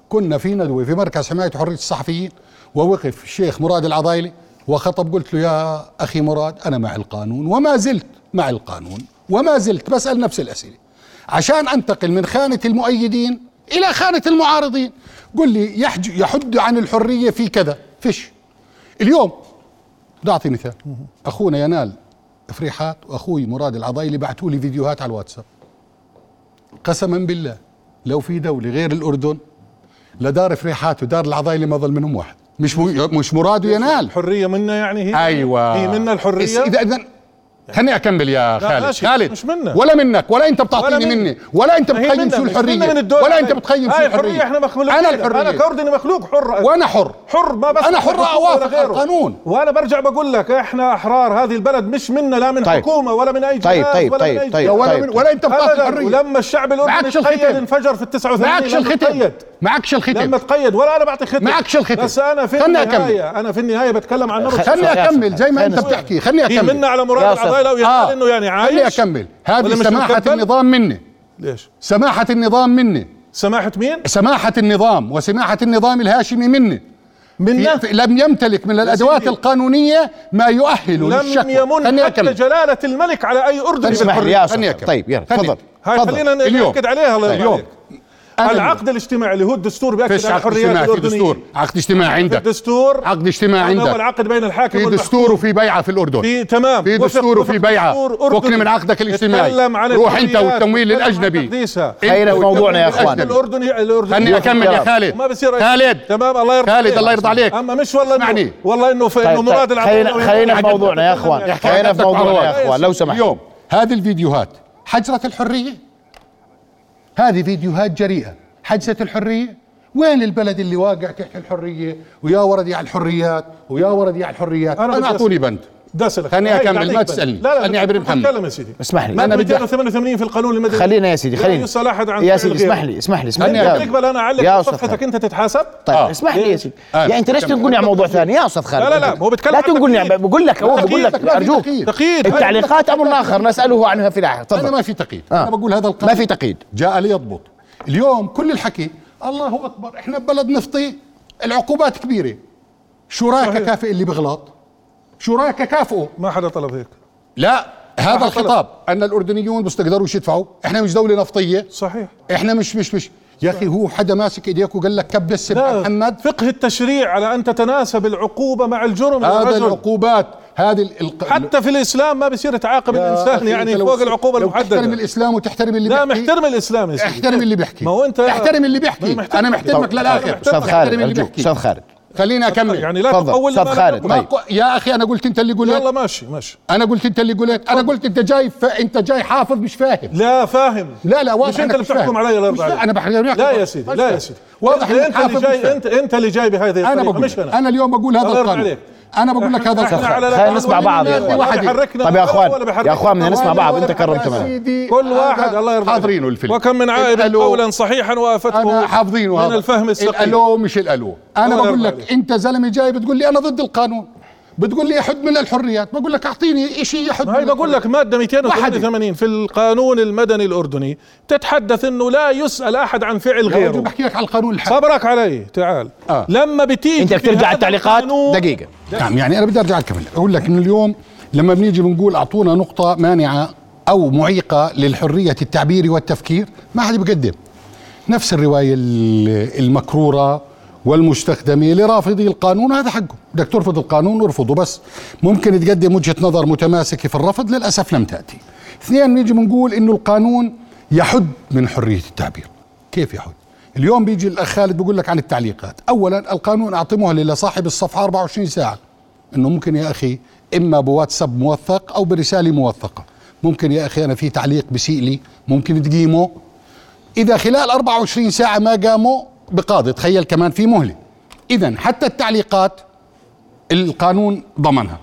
D: كنا في ندوه في مركز حمايه حريه الصحفيين ووقف الشيخ مراد العضايلي وخطب قلت له يا اخي مراد انا مع القانون وما زلت مع القانون وما زلت بسال نفس الاسئله عشان انتقل من خانه المؤيدين الى خانه المعارضين قل لي يحج يحد عن الحريه في كذا فيش اليوم بدي اعطي مثال اخونا ينال افريحات واخوي مراد العضايلي بعثوا لي فيديوهات على الواتساب قسما بالله لو في دوله غير الاردن لدار افريحات ودار العضايلي ما ظل منهم واحد مش م... مش مراد وينال
B: الحريه منا يعني هي
D: ايوه
B: هي منا
D: إس-
B: الحريه
D: اذا اذا خليني اكمل يا خالد
B: ماشي،
D: خالد
B: مش منا.
D: ولا منك ولا انت
B: ولا
D: بتعطيني
B: مني.
D: مني ولا انت
B: ما هي
D: بتقيم
B: منا،
D: شو
B: مش منا
D: الحريه
B: من الدولة.
D: ولا انت
B: هاي.
D: بتقيم شو
B: هاي الحريه احنا مخلوقين
D: انا الحريه
B: انا كأردني مخلوق حر
D: وانا حر
B: حر ما بس
D: أنا حر أوافق القانون.
B: وانا برجع بقول لك احنا احرار هذه البلد مش منا لا من
A: طيب.
B: حكومه ولا من اي
A: طيب،
B: جهاز
A: طيب،
B: ولا
A: طيب،
B: من اي
A: طيب.
B: جهاز.
D: ولا, من ولا انت بتعطي
B: أبداً.
D: الحريه
B: ولما الشعب الاردني
D: معكش
B: تقيد
D: الختم.
B: انفجر في 89
D: معكش
B: لما
D: الختم
B: تقيد.
D: معكش الختم
B: لما تقيد ولا انا بعطي ختم
D: معكش الختم.
B: بس انا في
D: خلني
B: النهايه انا في النهايه بتكلم عن نمط
A: خ-
D: خلني
A: يا
D: اكمل
A: أستاذ.
D: زي ما انت
A: خلينا-
D: بتحكي خلني
B: في
D: اكمل
B: منا على مراد
A: يا أستاذ.
B: العضايله ويحتل
D: آه.
B: انه يعني عايش
D: خليني اكمل
B: ولا
D: هذه
B: مش
D: سماحه
B: مكبل؟
D: النظام مني
B: ليش
D: سماحه النظام مني
B: سماحه مين
D: سماحه النظام وسماحه النظام الهاشمي مني
B: منا
D: في- في- لم يمتلك من الادوات
B: سيدي.
D: القانونيه ما يؤهل للشكوى
B: لم يمن
D: خليني
B: حتى
D: أكمل.
B: جلاله الملك على اي اردني
D: خليني-
A: اسمح لي يا
D: خلني
A: استاذ
D: أكمل.
A: طيب يلا
D: خلني.
A: تفضل
B: هاي
A: تفضل.
B: خلينا
D: اليوم.
B: ناكد عليها الله
D: اليوم.
B: اليوم
D: أنا
B: العقد الاجتماعي اللي هو الدستور
D: فيش
B: بياكد على
D: عقد
B: الحريات
D: اجتماعي في
B: الاردنيه
D: دستور عقد اجتماعي
B: في
D: عندك
B: الدستور
D: عقد اجتماعي
B: هذا هو
D: عندك
B: العقد بين الحاكم
D: في
B: والمحكوم
D: دستور وفي بيعه في الاردن
B: في تمام
D: في
B: وفق-
D: دستور
B: وفق
D: وفي بيعه
B: دستور أردني.
D: فكني من عقدك الاجتماعي
B: تكلم عن
D: روح انت
B: الحريات،
D: والتمويل
B: تكلم عن
D: الاجنبي
B: تقديسها.
D: أنت
A: خلينا في
D: والتمويل
A: موضوعنا يا
D: الأجنبي.
A: إخوان.
B: الاردني الاردني
D: خليني اكمل يا خالد
B: ما بصير أي-
D: خالد
B: تمام الله يرضى
D: خالد،
B: عليك.
D: الله يرضى عليك.
B: اما مش والله
D: اسمعني.
B: إنه والله انه في
A: طيب،
B: انه مراد
A: طيب.
B: العضايلة
A: خلينا-
B: وين-
A: خلينا في
B: عجبتك
A: موضوعنا يا إخوان.
B: يعني.
A: خلينا في
D: عقدك
A: موضوعنا
D: مع
A: يا
D: بعض.
A: إخوان، لو سمحت.
D: اليوم هذه الفيديوهات حجرت الحريه هذه فيديوهات جريئه حجزت الحريه وين البلد اللي واقع تحت الحريه ويا ولدي على الحريات ويا ولدي على الحريات
B: أنا
D: انا
B: بدي
D: اعطوني بند
B: بدي اسالك
D: خليني
B: هاي
D: أكمل،
B: قاعد
D: ما
B: يقبل.
D: تسألني.
B: لا لا
D: خليني عبير محمد.
B: تكلم يا سيدي
A: اسمح لي
B: انا
A: انا
D: بدي-
B: 288 في القانون المدني
A: خلينا يا سيدي
B: لا
A: خليني
B: يسأل أحد عن
A: يا
B: فعل
A: سيدي
B: غيره.
A: اسمح لي اسمح لي اسمح لي
D: خليني
B: بدي
D: أكمل.
B: اقبل انا اعلق
A: يا
B: على
A: أستاذ
B: صفحتك
A: خالد.
B: انت تتحاسب
A: طيب
D: آه.
A: اسمح لي يا سيدي
D: آه.
A: يعني انت ليش
D: كمل.
A: تنقلني على موضوع ثاني يا استاذ خالد
B: لا لا لا هو بيتكلم
A: لا
B: عن
A: تنقلني
B: التقييد.
A: عم- بقول لك اهو بقول لك
D: ما في
A: ارجوك
D: تقييد.
B: تقييد
A: التعليقات امر اخر نساله عنها في لاحق
D: انا
A: تفضل
D: ما في تقييد
A: آه.
D: انا بقول هذا القانون
A: ما في تقييد
D: جاء ليضبط اليوم كل الحكي الله اكبر احنا ببلد نفطي العقوبات كبيره شراكه
B: صحيح.
D: كافئ اللي بغلط شراكه كافئه
B: ما حدا طلب هيك
D: لا هذا
B: صح، طلب.
D: الخطاب ان الاردنيون بس تقدروش يدفعوا احنا مش دوله نفطيه
B: صحيح
D: احنا مش مش مش يا اخي هو حدا ماسك ايديك وقال لك كب السبع
B: لا
D: محمد
B: فقه التشريع على ان تتناسب العقوبه مع الجرم يا
D: هذا
B: رجل.
D: العقوبات هذه الق...
B: حتى في الاسلام ما بيصير تعاقب
D: يا
B: الانسان
D: أخي،
B: يعني
D: أنت لو-
B: فوق العقوبه
D: لو تحترم
B: المحدده
D: الاسلام وتحترم اللي
A: إيه؟
B: لا
D: بيحكي،
B: محترم الاسلام يا سيدي
D: احترم اللي بيحكي
B: ما هو أنت-
D: احترم اللي
B: ما
D: بيحكي
B: محترم.
D: انا محترمك للاخر
A: استاذ خالد
D: احترم اللي
A: ارجوك استاذ
D: بيحكي
A: خالد
D: خليني اكمل
B: يعني لا
A: تفضل،
B: تطول
A: أستاذ
B: لما لا
A: خالد.
B: نقول.
D: ما
A: طيب.
D: قو- يا اخي انا قلت انت اللي
B: يلا
D: قلت
B: ماشي ماشي
D: انا قلت انت اللي قلت انا قلت انت جاي ف... انت جاي حافظ مش فاهم
B: لا فاهم
D: لا لا واضح
B: مش انت
D: إنك
B: اللي بتحكم
D: فاهم.
B: علي الله
D: مش-
B: يرضى عليك
D: انا بحكي
B: لا يا سيدي لا يا سيدي
D: واضح انك
B: انت اللي
D: حافظ مش
B: جاي
D: فاهم.
B: انت انت اللي جاي بهذه
D: انا
B: الطريقه
D: بقول
B: مش انا
D: انا اليوم بقول هذا
B: الله يرضى
D: القانون
B: عليك.
D: انا بقول لك هذا
B: احنا
D: القانون
B: على
A: خلينا نسمع بعض يا
D: إخوان.
B: واحد
D: طيب يا
B: حركنا
A: طيب يا
B: ولا
A: اخوان
B: بيحركنا.
A: يا اخوان بدنا نسمع
D: ولا-
A: بعض
D: ولا
A: انت كرمت
D: حدا
A: كمان
D: سيدي.
B: كل
D: هذا
B: واحد الله يرضى عليك.
D: حاضرينه الفيلم
B: وكم من عائب
D: اسألوا.
B: قولا صحيحا وافته
D: انا حافظينه
B: من الفهم السقيم
D: الالو مش الالو انا
B: الله
D: بقول
B: يرضى
D: لك
B: عليك.
D: انت زلمه جاي بتقول لي انا ضد القانون بتقول لي احد من الحريات بقول لك اعطيني شيء يحد
B: هاي
D: من
B: بقول لك مادة 288 في القانون المدني الأردني تتحدث أنه لا يسأل أحد عن فعل
D: الحرية. يا رجل
B: غيره
D: بحكي لك على القانون الحق
B: صبرك علي تعال
D: آه.
B: لما بتيجي
A: انت
B: في
A: بترجع
B: هذا
A: على التعليقات
B: القانون-
A: دقيقه
D: نعم يعني انا بدي ارجع اكمل اقول لك انه اليوم لما بنيجي بنقول اعطونا نقطه مانعه او معيقه للحريه التعبير والتفكير ما حد بيقدم نفس الروايه ال- المكروره والمستخدمه لرافضي القانون هذا حقه بدك ترفض القانون ارفضه بس ممكن تقدم وجهه نظر متماسكه في الرفض للاسف لم تاتي اثنين بنيجي بنقول انه القانون يحد من حريه التعبير كيف يحد اليوم بيجي الاخ خالد بيقول لك عن التعليقات اولا القانون اعطي مهله لصاحب الصفحه 24 ساعه انه ممكن يا اخي اما بواتساب موثق او برساله موثقه ممكن يا اخي انا في تعليق بسيء لي ممكن تقيمه اذا خلال 24 ساعه ما قاموا بقاضي تخيل كمان في مهله اذا حتى التعليقات القانون ضمنها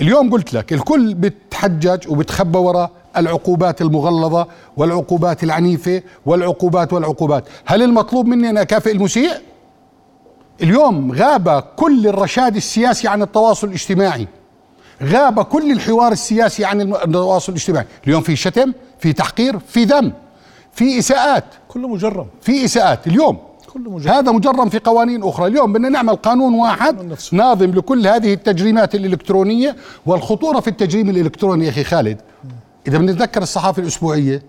D: اليوم قلت لك الكل بتحجج وبتخبى وراء العقوبات المغلظة والعقوبات العنيفة والعقوبات والعقوبات هل المطلوب مني أن أكافئ المسيء؟ اليوم غاب كل الرشاد السياسي عن التواصل الاجتماعي غاب كل الحوار السياسي عن الم- التواصل الاجتماعي اليوم في شتم في تحقير في ذم في إساءات
B: كله مجرم
D: في إساءات اليوم
B: كله مجرم
D: هذا مجرم في قوانين اخرى اليوم بدنا نعمل قانون واحد
B: نفسه.
D: ناظم لكل هذه التجريمات الالكترونيه والخطوره في التجريم الالكتروني يا اخي خالد اذا بنتذكر الصحافه الاسبوعيه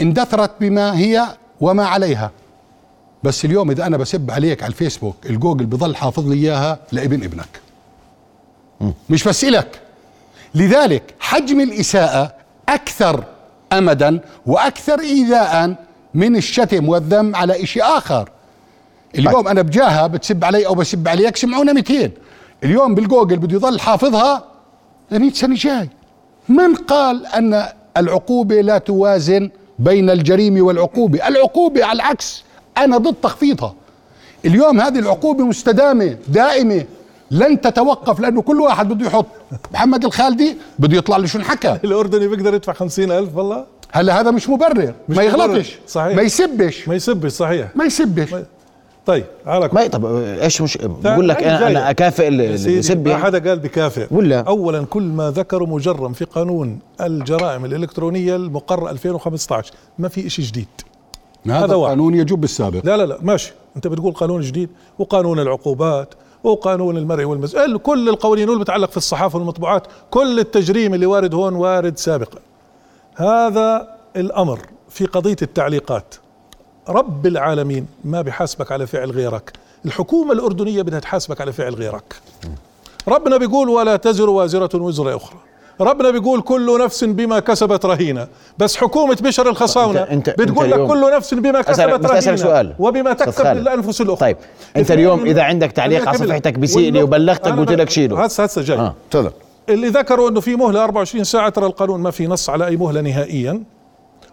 D: اندثرت بما هي وما عليها بس اليوم اذا انا بسب عليك على الفيسبوك الجوجل بضل حافظ لي اياها لابن ابنك مش بس إلك لذلك حجم الإساءة أكثر أمدا وأكثر إيذاء من الشتم والذم على إشي آخر
B: طيب.
D: اليوم أنا بجاهة بتسب علي أو بسب عليك سمعونا 200 اليوم بالجوجل بده يضل حافظها ل سنة جاي من قال أن العقوبة لا توازن بين الجريمة والعقوبة العقوبة على العكس أنا ضد تخفيضها اليوم هذه العقوبة مستدامة دائمة لن تتوقف لأنه كل واحد بده يحط محمد الخالدي بده يطلع له شو انحكى
B: الأردني بيقدر يدفع خمسين ألف والله
D: هلا هذا مش مبرر
B: مش
D: ما
B: مبرر.
D: يغلطش
B: صحيح.
D: ما يسبش
B: ما يسبش صحيح
D: ما يسبش
B: طيب على كل
A: ما طب ايش مش بقول لك
B: تعال،
A: انا
B: جاي.
A: انا اكافئ
B: يا
A: اللي
B: سيدي،
A: يسب
B: ما
A: يعني.
B: حدا قال بكافئ
A: ولا؟
B: اولا كل ما ذكره مجرم في قانون الجرائم الالكترونيه المقرر 2015 ما في شيء جديد
D: هذا
B: هذا واحد.
D: قانون يجب السابق
B: لا لا لا ماشي انت بتقول قانون جديد وقانون العقوبات وقانون المرئي والمز ال- كل القوانين اللي بتعلق في الصحافه والمطبوعات كل التجريم اللي وارد هون وارد سابقا هذا الامر في قضيه التعليقات رب العالمين ما بحاسبك على فعل غيرك الحكومه الاردنيه بدها تحاسبك على فعل غيرك ربنا بيقول ولا تزر وازرة وزر أخرى ربنا بيقول كل نفس بما كسبت رهينة بس حكومة بشر الخصاونة
A: أنت- أنت-
B: بتقول
A: أنت
B: لك
A: اليوم-
B: كل نفس بما
A: أسألك-
B: كسبت
A: بس أسألك
B: رهينة
A: سؤال.
B: وبما
A: أستاذ
B: تكسب
A: خالد.
B: الأنفس الأخرى
A: طيب، أنت اليوم إذا عندك تعليق على صفحتك بيسيء لي وبلغتك قلت لك شيله.
B: هسه هسه جاي
A: اه تفضل
B: اللي ذكروا انه في مهله 24 ساعه ترى القانون ما في نص على اي مهله نهائيا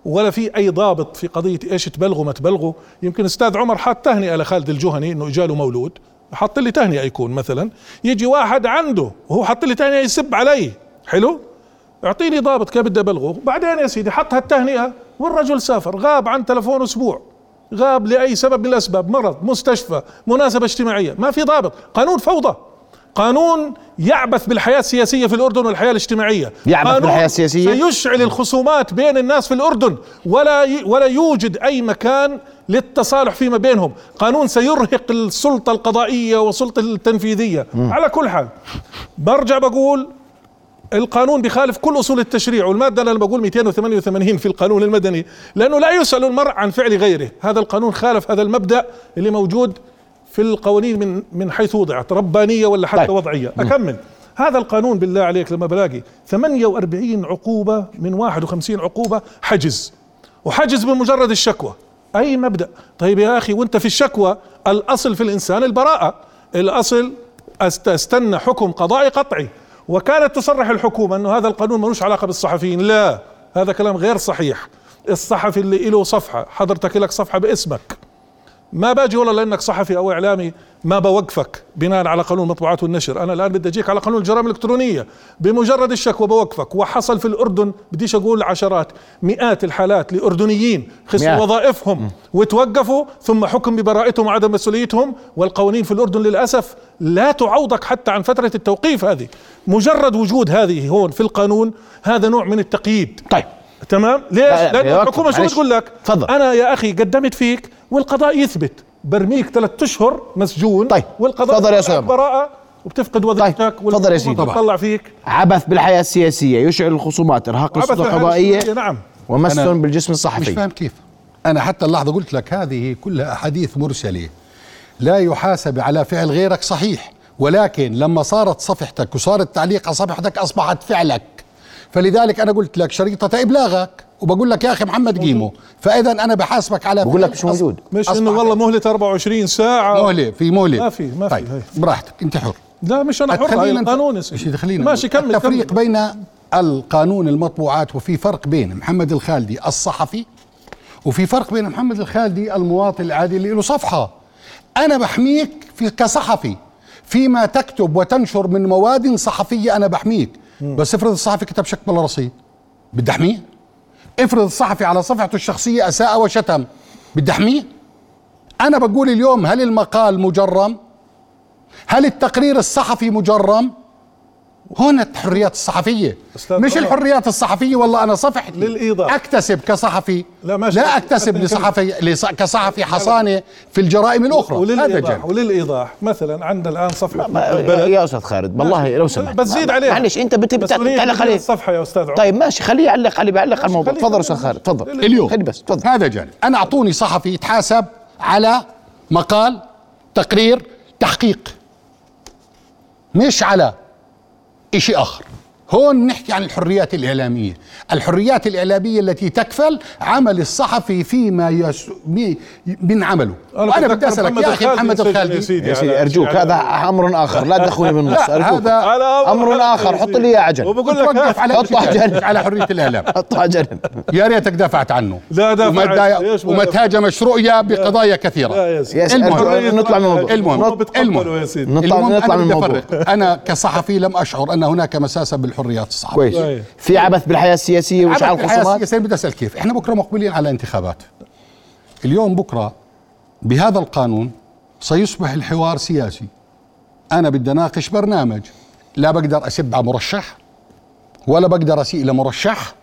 B: ولا في اي ضابط في قضيه ايش تبلغوا ما تبلغوا يمكن استاذ عمر حط تهنئه لخالد الجهني انه اجاله مولود حط لي تهنئه يكون مثلا يجي واحد عنده وهو حط لي تهنئه يسب علي حلو اعطيني ضابط كيف بدي ابلغه بعدين يا سيدي حط هالتهنئه والرجل سافر غاب عن تلفونه اسبوع غاب لاي سبب من الاسباب مرض مستشفى مناسبه اجتماعيه ما في ضابط قانون فوضى قانون يعبث بالحياه السياسيه في الاردن والحياه الاجتماعيه
A: يعبث
B: قانون
A: بالحياة السياسية؟
B: سيشعل الخصومات بين الناس في الاردن ولا ي... ولا يوجد اي مكان للتصالح فيما بينهم قانون سيرهق السلطه القضائيه والسلطه التنفيذيه على كل حال برجع بقول القانون بخالف كل اصول التشريع والماده اللي انا بقول 288 في القانون المدني لانه لا يسال المرء عن فعل غيره هذا القانون خالف هذا المبدا اللي موجود في القوانين من من حيث وضعت ربانيه ولا حتى
A: طيب.
B: وضعيه اكمل هذا القانون بالله عليك لما بلاقي 48 عقوبه من 51 عقوبه حجز وحجز بمجرد الشكوى اي مبدا طيب يا اخي وانت في الشكوى الاصل في الانسان البراءه الاصل أست- استنى حكم قضائي قطعي وكانت تصرح الحكومه انه هذا القانون ملوش علاقه بالصحفيين لا هذا كلام غير صحيح الصحفي اللي له صفحه حضرتك لك صفحه باسمك ما باجي والله لانك صحفي او اعلامي ما بوقفك بناء على قانون المطبوعات والنشر انا الان بدي اجيك على قانون الجرائم الالكترونيه بمجرد الشكوى بوقفك وحصل في الاردن بديش اقول عشرات مئات الحالات لاردنيين خسروا
A: مئات.
B: وظائفهم وتوقفوا ثم حكم ببراءتهم وعدم مسؤوليتهم والقوانين في الاردن للاسف لا تعوضك حتى عن فتره التوقيف هذه مجرد وجود هذه هون في القانون هذا نوع من التقييد
A: طيب
B: تمام ليش
A: لا، لا،
B: لان
A: يا
B: الحكومه
A: وقف،
B: شو
A: معلش.
B: بتقول لك
A: تفضل.
B: انا يا اخي قدمت فيك والقضاء يثبت برميك ثلاثة اشهر مسجون
A: طيب،
B: والقضاء
A: تفضل يا
B: يثبت
A: أسامة.
B: براءه وبتفقد وظيفتك
A: تفضل يا سيدي.
B: بتطلع فيك
A: عبث بالحياه السياسيه يشعل الخصومات ارهاق
B: عبث
A: السلطه
B: الحياة السياسية،
A: القضائيه
B: نعم
A: ومس
D: أنا-
A: بالجسم
D: مش
A: الصحفي
D: فاهم كيف أنا حتى اللحظة قلت لك هذه كلها أحاديث مرسلة لا يحاسب على فعل غيرك صحيح ولكن لما صارت صفحتك وصار التعليق على صفحتك أصبحت فعلك فلذلك أنا قلت لك شريطة إبلاغك وبقول لك يا أخي محمد قيمه فإذا أنا بحاسبك على
A: بقول
D: فعل
A: لك مش
D: أص-
A: موجود.
B: مش
D: أصبح
B: انه والله مهله 24 ساعه
D: مهلة في مهلة طيب،
B: ما في- ما في، هي.
D: براحتك أنت حر
B: لا مش انا حر هاي
D: تخلينا طيب، نت-
B: القانون يا
D: مش
B: سيدي
D: تخلينا
B: ماشي كمل
D: التفريق
B: كمل
D: بين القانون المطبوعات وفي فرق بين محمد الخالدي الصحفي وفي فرق بين محمد الخالدي المواطن العادي اللي له صفحه انا بحميك في كصحفي فيما تكتب وتنشر من مواد صحفيه انا بحميك بس افرض الصحفي كتب شك بلا رصيد بدي احميه افرض الصحفي على صفحته الشخصيه اساء وشتم بدي احميه انا بقول اليوم هل المقال مجرم هل التقرير الصحفي مجرم هنا الحريات الصحفية
B: أستاذ
D: مش
B: طلعت.
D: الحريات الصحفية والله أنا صفحتي
B: للإيضاح.
D: أكتسب كصحفي
B: لا، ماشي.
D: لا أكتسب
B: أنت-
D: لصحفي لص... كصحفي حصانة في الجرائم الأخرى هذا جانب
B: وللإيضاح وللإيضاح مثلا عندنا الآن صفحة
A: ما-
B: البلد.
A: يا استاذ خالد والله لو سمحت
B: بتزيد
A: ما-
B: عليها
A: معلش انت بت- بت-
B: مسؤولية
A: بتعلق
B: مدير
A: عليه
B: الصفحة يا أستاذ عمر
A: طيب ماشي خليه يعلق عليه بعلق على الموضوع
B: خليه-
A: تفضل استاذ خالد تفضل
D: اليوم
A: خلي بس تفضل
D: هذا جانب أنا أعطوني صحفي يتحاسب على مقال تقرير تحقيق مش على شيء آخر هون نحكي عن الحريات الإعلامية الحريات الإعلامية التي تكفل عمل الصحفي فيما يس... مي... من عمله وأنا
B: بتذكر
D: بدي أسألك يا أخي محمد
B: ينسجن يا
D: الخالدي
B: سيدي
A: يا
B: على-
A: سيدي ارجوك
B: على-
A: هذا امر اخر لا تدخلوني من النص
D: لا،
A: ارجوك
D: هذا
B: على
A: أمر
B: حلقة
A: آخر،
B: يا
A: حط
B: سيدي.
A: لي إياه عجل.
B: وبقول لك
D: توقف على
A: حطه على جنب.
D: على حرية الإعلام
A: حطه على جنب
D: يا ريتك دافعت عنه
B: لا دافعت.
D: وما دا-
B: ليش ما
D: وما
B: دافعت؟
D: تهاجمش رؤيا بقضايا كثيرة
B: لا يا سيدي
A: يا سيدي
D: المهم.
A: ارجو نطلع من الموضوع
D: المهم.
B: ما
A: نط-
B: بتقبلوا يا سيدي
A: نطلع
D: المهم
A: نطلع من
D: أنا بدي
A: الموضوع
D: أفرق. أنا كصحفي لم أشعر أن هناك مساسة بالحريات الصحفية
A: كويس
B: طيب.
A: في عبث بالحياه السياسيه
D: عمل
A: واشعال
D: في الحياة
A: الخصومات
D: السياسية بدي أسأل كيف إحنا بكرة مقبلين على انتخابات اليوم بكرة بهذا القانون سيصبح الحوار سياسي أنا بدي أناقش برنامج لا بقدر أسب على مرشح ولا بقدر أسيء لمرشح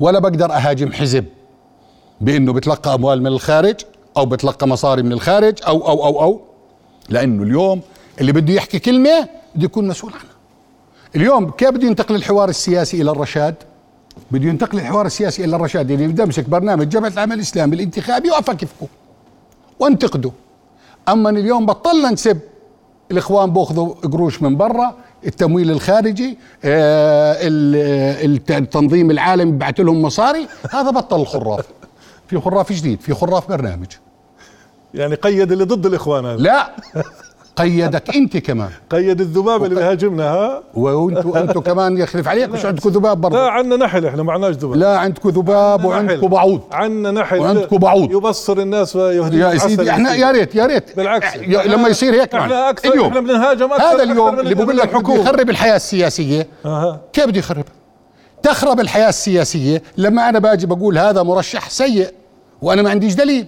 D: ولا بقدر أهاجم حزب بأنه بتلقى أموال من الخارج أو بتلقى مصاري من الخارج أو أو أو أو لأنه اليوم اللي بده يحكي كلمة بده يكون مسؤول عنها اليوم كيف بده ينتقل الحوار السياسي إلى الرشاد بده ينتقل الحوار السياسي الى الرشاد اللي بده يمسك برنامج جبهه العمل الاسلامي الانتخابي واقف كيفكم وانتقده اما اليوم بطلنا نسب الاخوان بياخذوا قروش من برا التمويل الخارجي آه، ال- الت- التنظيم العالمي بيبعث لهم مصاري هذا بطل الخراف في خراف جديد في خراف برنامج
B: يعني قيد اللي ضد الاخوان هذا
D: لا قيدك انت كمان
B: قيد الذباب اللي بيهاجمنا ها
D: وانتوا انتوا كمان يخلف عليك مش عندكم ذباب
B: لا
D: برضه
B: عنا نحل احنا ما عناش ذباب
D: لا عندكم ذباب وعندكم بعوض
B: عنا نحل
D: وعندكم بعوض.
B: يبصر الناس ويهدي
D: يا سيدي احنا يا ريت يا ريت
B: بالعكس
D: إح- يا- لما يصير هيك
B: احنا
D: معنا.
B: اكثر اليوم. احنا بنهاجم اكثر
D: هذا
B: أكثر
D: اليوم
B: من
D: اللي بقول لك بده يخرب الحياه السياسيه
B: أها.
D: كيف بده يخرب تخرب الحياه السياسيه لما انا باجي بقول هذا مرشح سيء وانا ما عنديش دليل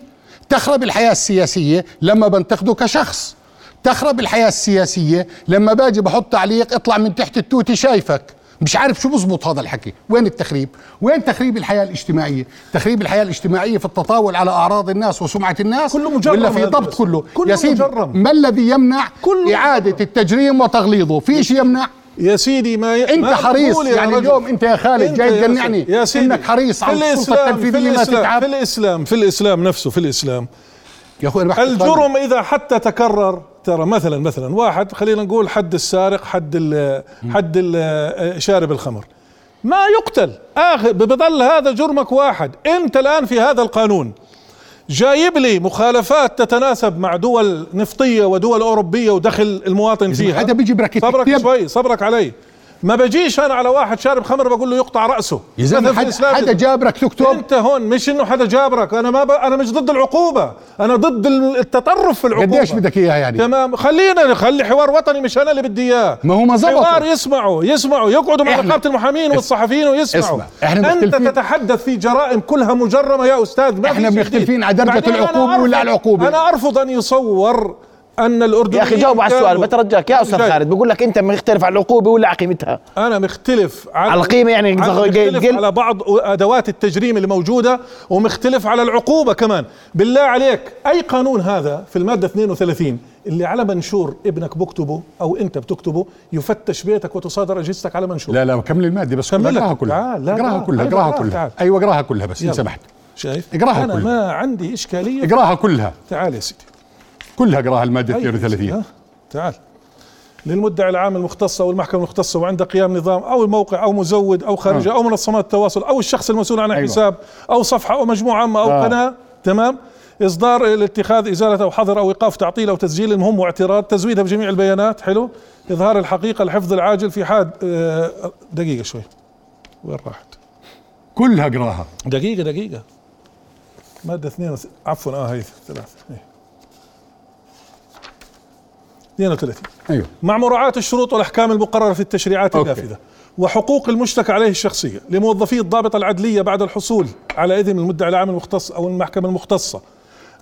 D: تخرب الحياه السياسيه لما بنتقده كشخص تخرب الحياه السياسيه لما باجي بحط تعليق اطلع من تحت التوتي شايفك مش عارف شو بزبط هذا الحكي وين التخريب وين تخريب الحياه الاجتماعيه تخريب الحياه الاجتماعيه في التطاول على اعراض الناس وسمعه الناس
B: كله مجرم
D: ولا في
B: يا
D: ضبط
B: بس.
D: كله
B: كله
D: يا سيدي
B: مجرم.
D: ما الذي يمنع
B: كله
D: إعادة التجريم وتغليظه في شيء يمنع
B: يا سيدي ما ي...
D: أنت
B: ما
D: حريص
B: تقول يا
D: يعني
B: رجل.
D: اليوم أنت يا خالد
B: أنت
D: جاي
B: يا
D: تجنعني
B: سيدي- يا سيدي
D: إنك حريص على
B: في
D: السلطة
B: الإسلام-
D: التنفيذية
B: في
D: ما
B: الإسلام-
D: تتعب.
B: في الإسلام في الإسلام نفسه في الإسلام
D: يا أخوي أنا بحكي
B: الجرم إذا حتى تكرر ترى مثلا مثلا واحد خلينا نقول حد السارق حد ال حد ال شارب الخمر ما يقتل آخر بظل هذا جرمك واحد أنت الآن في هذا القانون جايب لي مخالفات تتناسب مع دول نفطية ودول أوروبية ودخل المواطن
D: إذا
B: فيها
D: حدا بيجي براكت
B: صبرك
D: كتاب.
B: شوي صبرك علي ما بجيش أنا على واحد شارب خمر بقول له يقطع رأسه
D: يا
B: مثلاً
D: زلمة
B: في إيه،
D: حد
B: الإسلام
D: حدا جابرك تكتب
B: انت هون مش انه حدا جابرك انا ما ب... انا مش ضد العقوبه انا ضد ال- التطرف في العقوبه
D: قديش بدك إياها يعني
B: تمام خلينا نخلي حوار وطني مش انا اللي بدي اياه
D: ما هو ما زبطوا.
B: حوار يسمعوا يسمعوا يقعدوا مع
D: احنا-
B: نقابه المحامين والصحفيين ويسمعوا
D: اسمع، احنا
B: انت
D: مختلفين.
B: تتحدث في جرائم كلها مجرمه يا استاذ ما
D: احنا
B: في شيء
D: مختلفين
B: جديد.
D: على درجة
B: بعدين أنا
D: العقوبة
B: أرفض-
D: ولا على العقوبة؟
B: انا ارفض ان يصور ان الاردن
A: يا اخي جاوب على السؤال بترجاك يا استاذ خالد بقول لك انت مختلف على العقوبه ولا على قيمتها
B: انا مختلف عن
A: على القيمة يعني
B: عن-
A: زغ-
B: مختلف
A: قل-
B: على بعض ادوات التجريم اللي موجوده ومختلف على العقوبه كمان بالله عليك اي قانون هذا في الماده 32 اللي على منشور ابنك بكتبه او انت بتكتبه يفتش بيتك وتصادر اجهزتك على منشور
D: لا لا كمل المادة بس
B: كمل لك.
D: اقراها كلها
B: تعال، لا،
D: اقراها
B: لا،
D: كلها
B: أيوة،
D: اقراها
B: تعال،
D: كلها
B: تعال.
D: أيوة اقراها كلها بس إن
B: يلا.
D: سمحت
B: شايف
D: اقراها
B: انا
D: كلها.
B: ما عندي اشكاليه
D: اقراها كلها
B: تعال يا سيدي
D: كلها اقراها المادة
B: أيوة يا سيدي،
D: 32
B: ها؟ تعال للمدعي العام المختص او المحكمة المختصة وعند قيام نظام او الموقع او مزود او خارجه او منظمات التواصل او الشخص المسؤول عن
D: آه. أيوة.
B: حساب او صفحة او مجموعة عامة او
D: آه.
B: قناة تمام اصدار الاتخاذ ازالة او حظر او ايقاف تعطيل او تسجيل المهم واعتراض تزويدها بجميع البيانات حلو اظهار الحقيقة الحفظ العاجل في حال آه، دقيقة شوي وين راحت
D: كلها اقراها
B: دقيقة دقيقة مادة اثنين وث... عفوا اه هي ثلاثة إيه. 32
D: ايوه
B: مع مراعاة الشروط والأحكام المقررة في التشريعات
D: أوكي.
B: النافذة وحقوق المشتكى عليه الشخصية لموظفي الضابطة العدلية بعد الحصول على إذن المدعي العام المختص أو المحكمة المختصة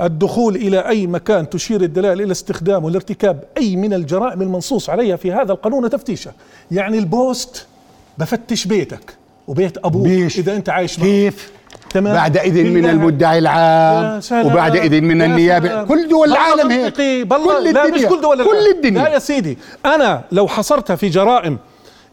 B: الدخول إلى أي مكان تشير الدلائل إلى استخدام والارتكاب أي من الجرائم المنصوص عليها في هذا القانون تفتيشة يعني البوست بفتش بيتك وبيت أبوك
D: بيش.
B: إذا أنت عايش معه
D: كيف
B: تمام
D: بعد إذن من
B: آه. بالله.
D: المدعي
B: يا
D: العام
B: سلام.
D: وبعد إذن من
B: يا
D: النيابة
B: سلام.
D: كل دول
B: والله
D: العالم هيك
B: منطقي. بالله
D: كل
B: لا مش
D: الدنيا.
B: كل دول
D: كل
B: العالم.
D: الدنيا
B: لا يا سيدي انا لو حصرتها في جرائم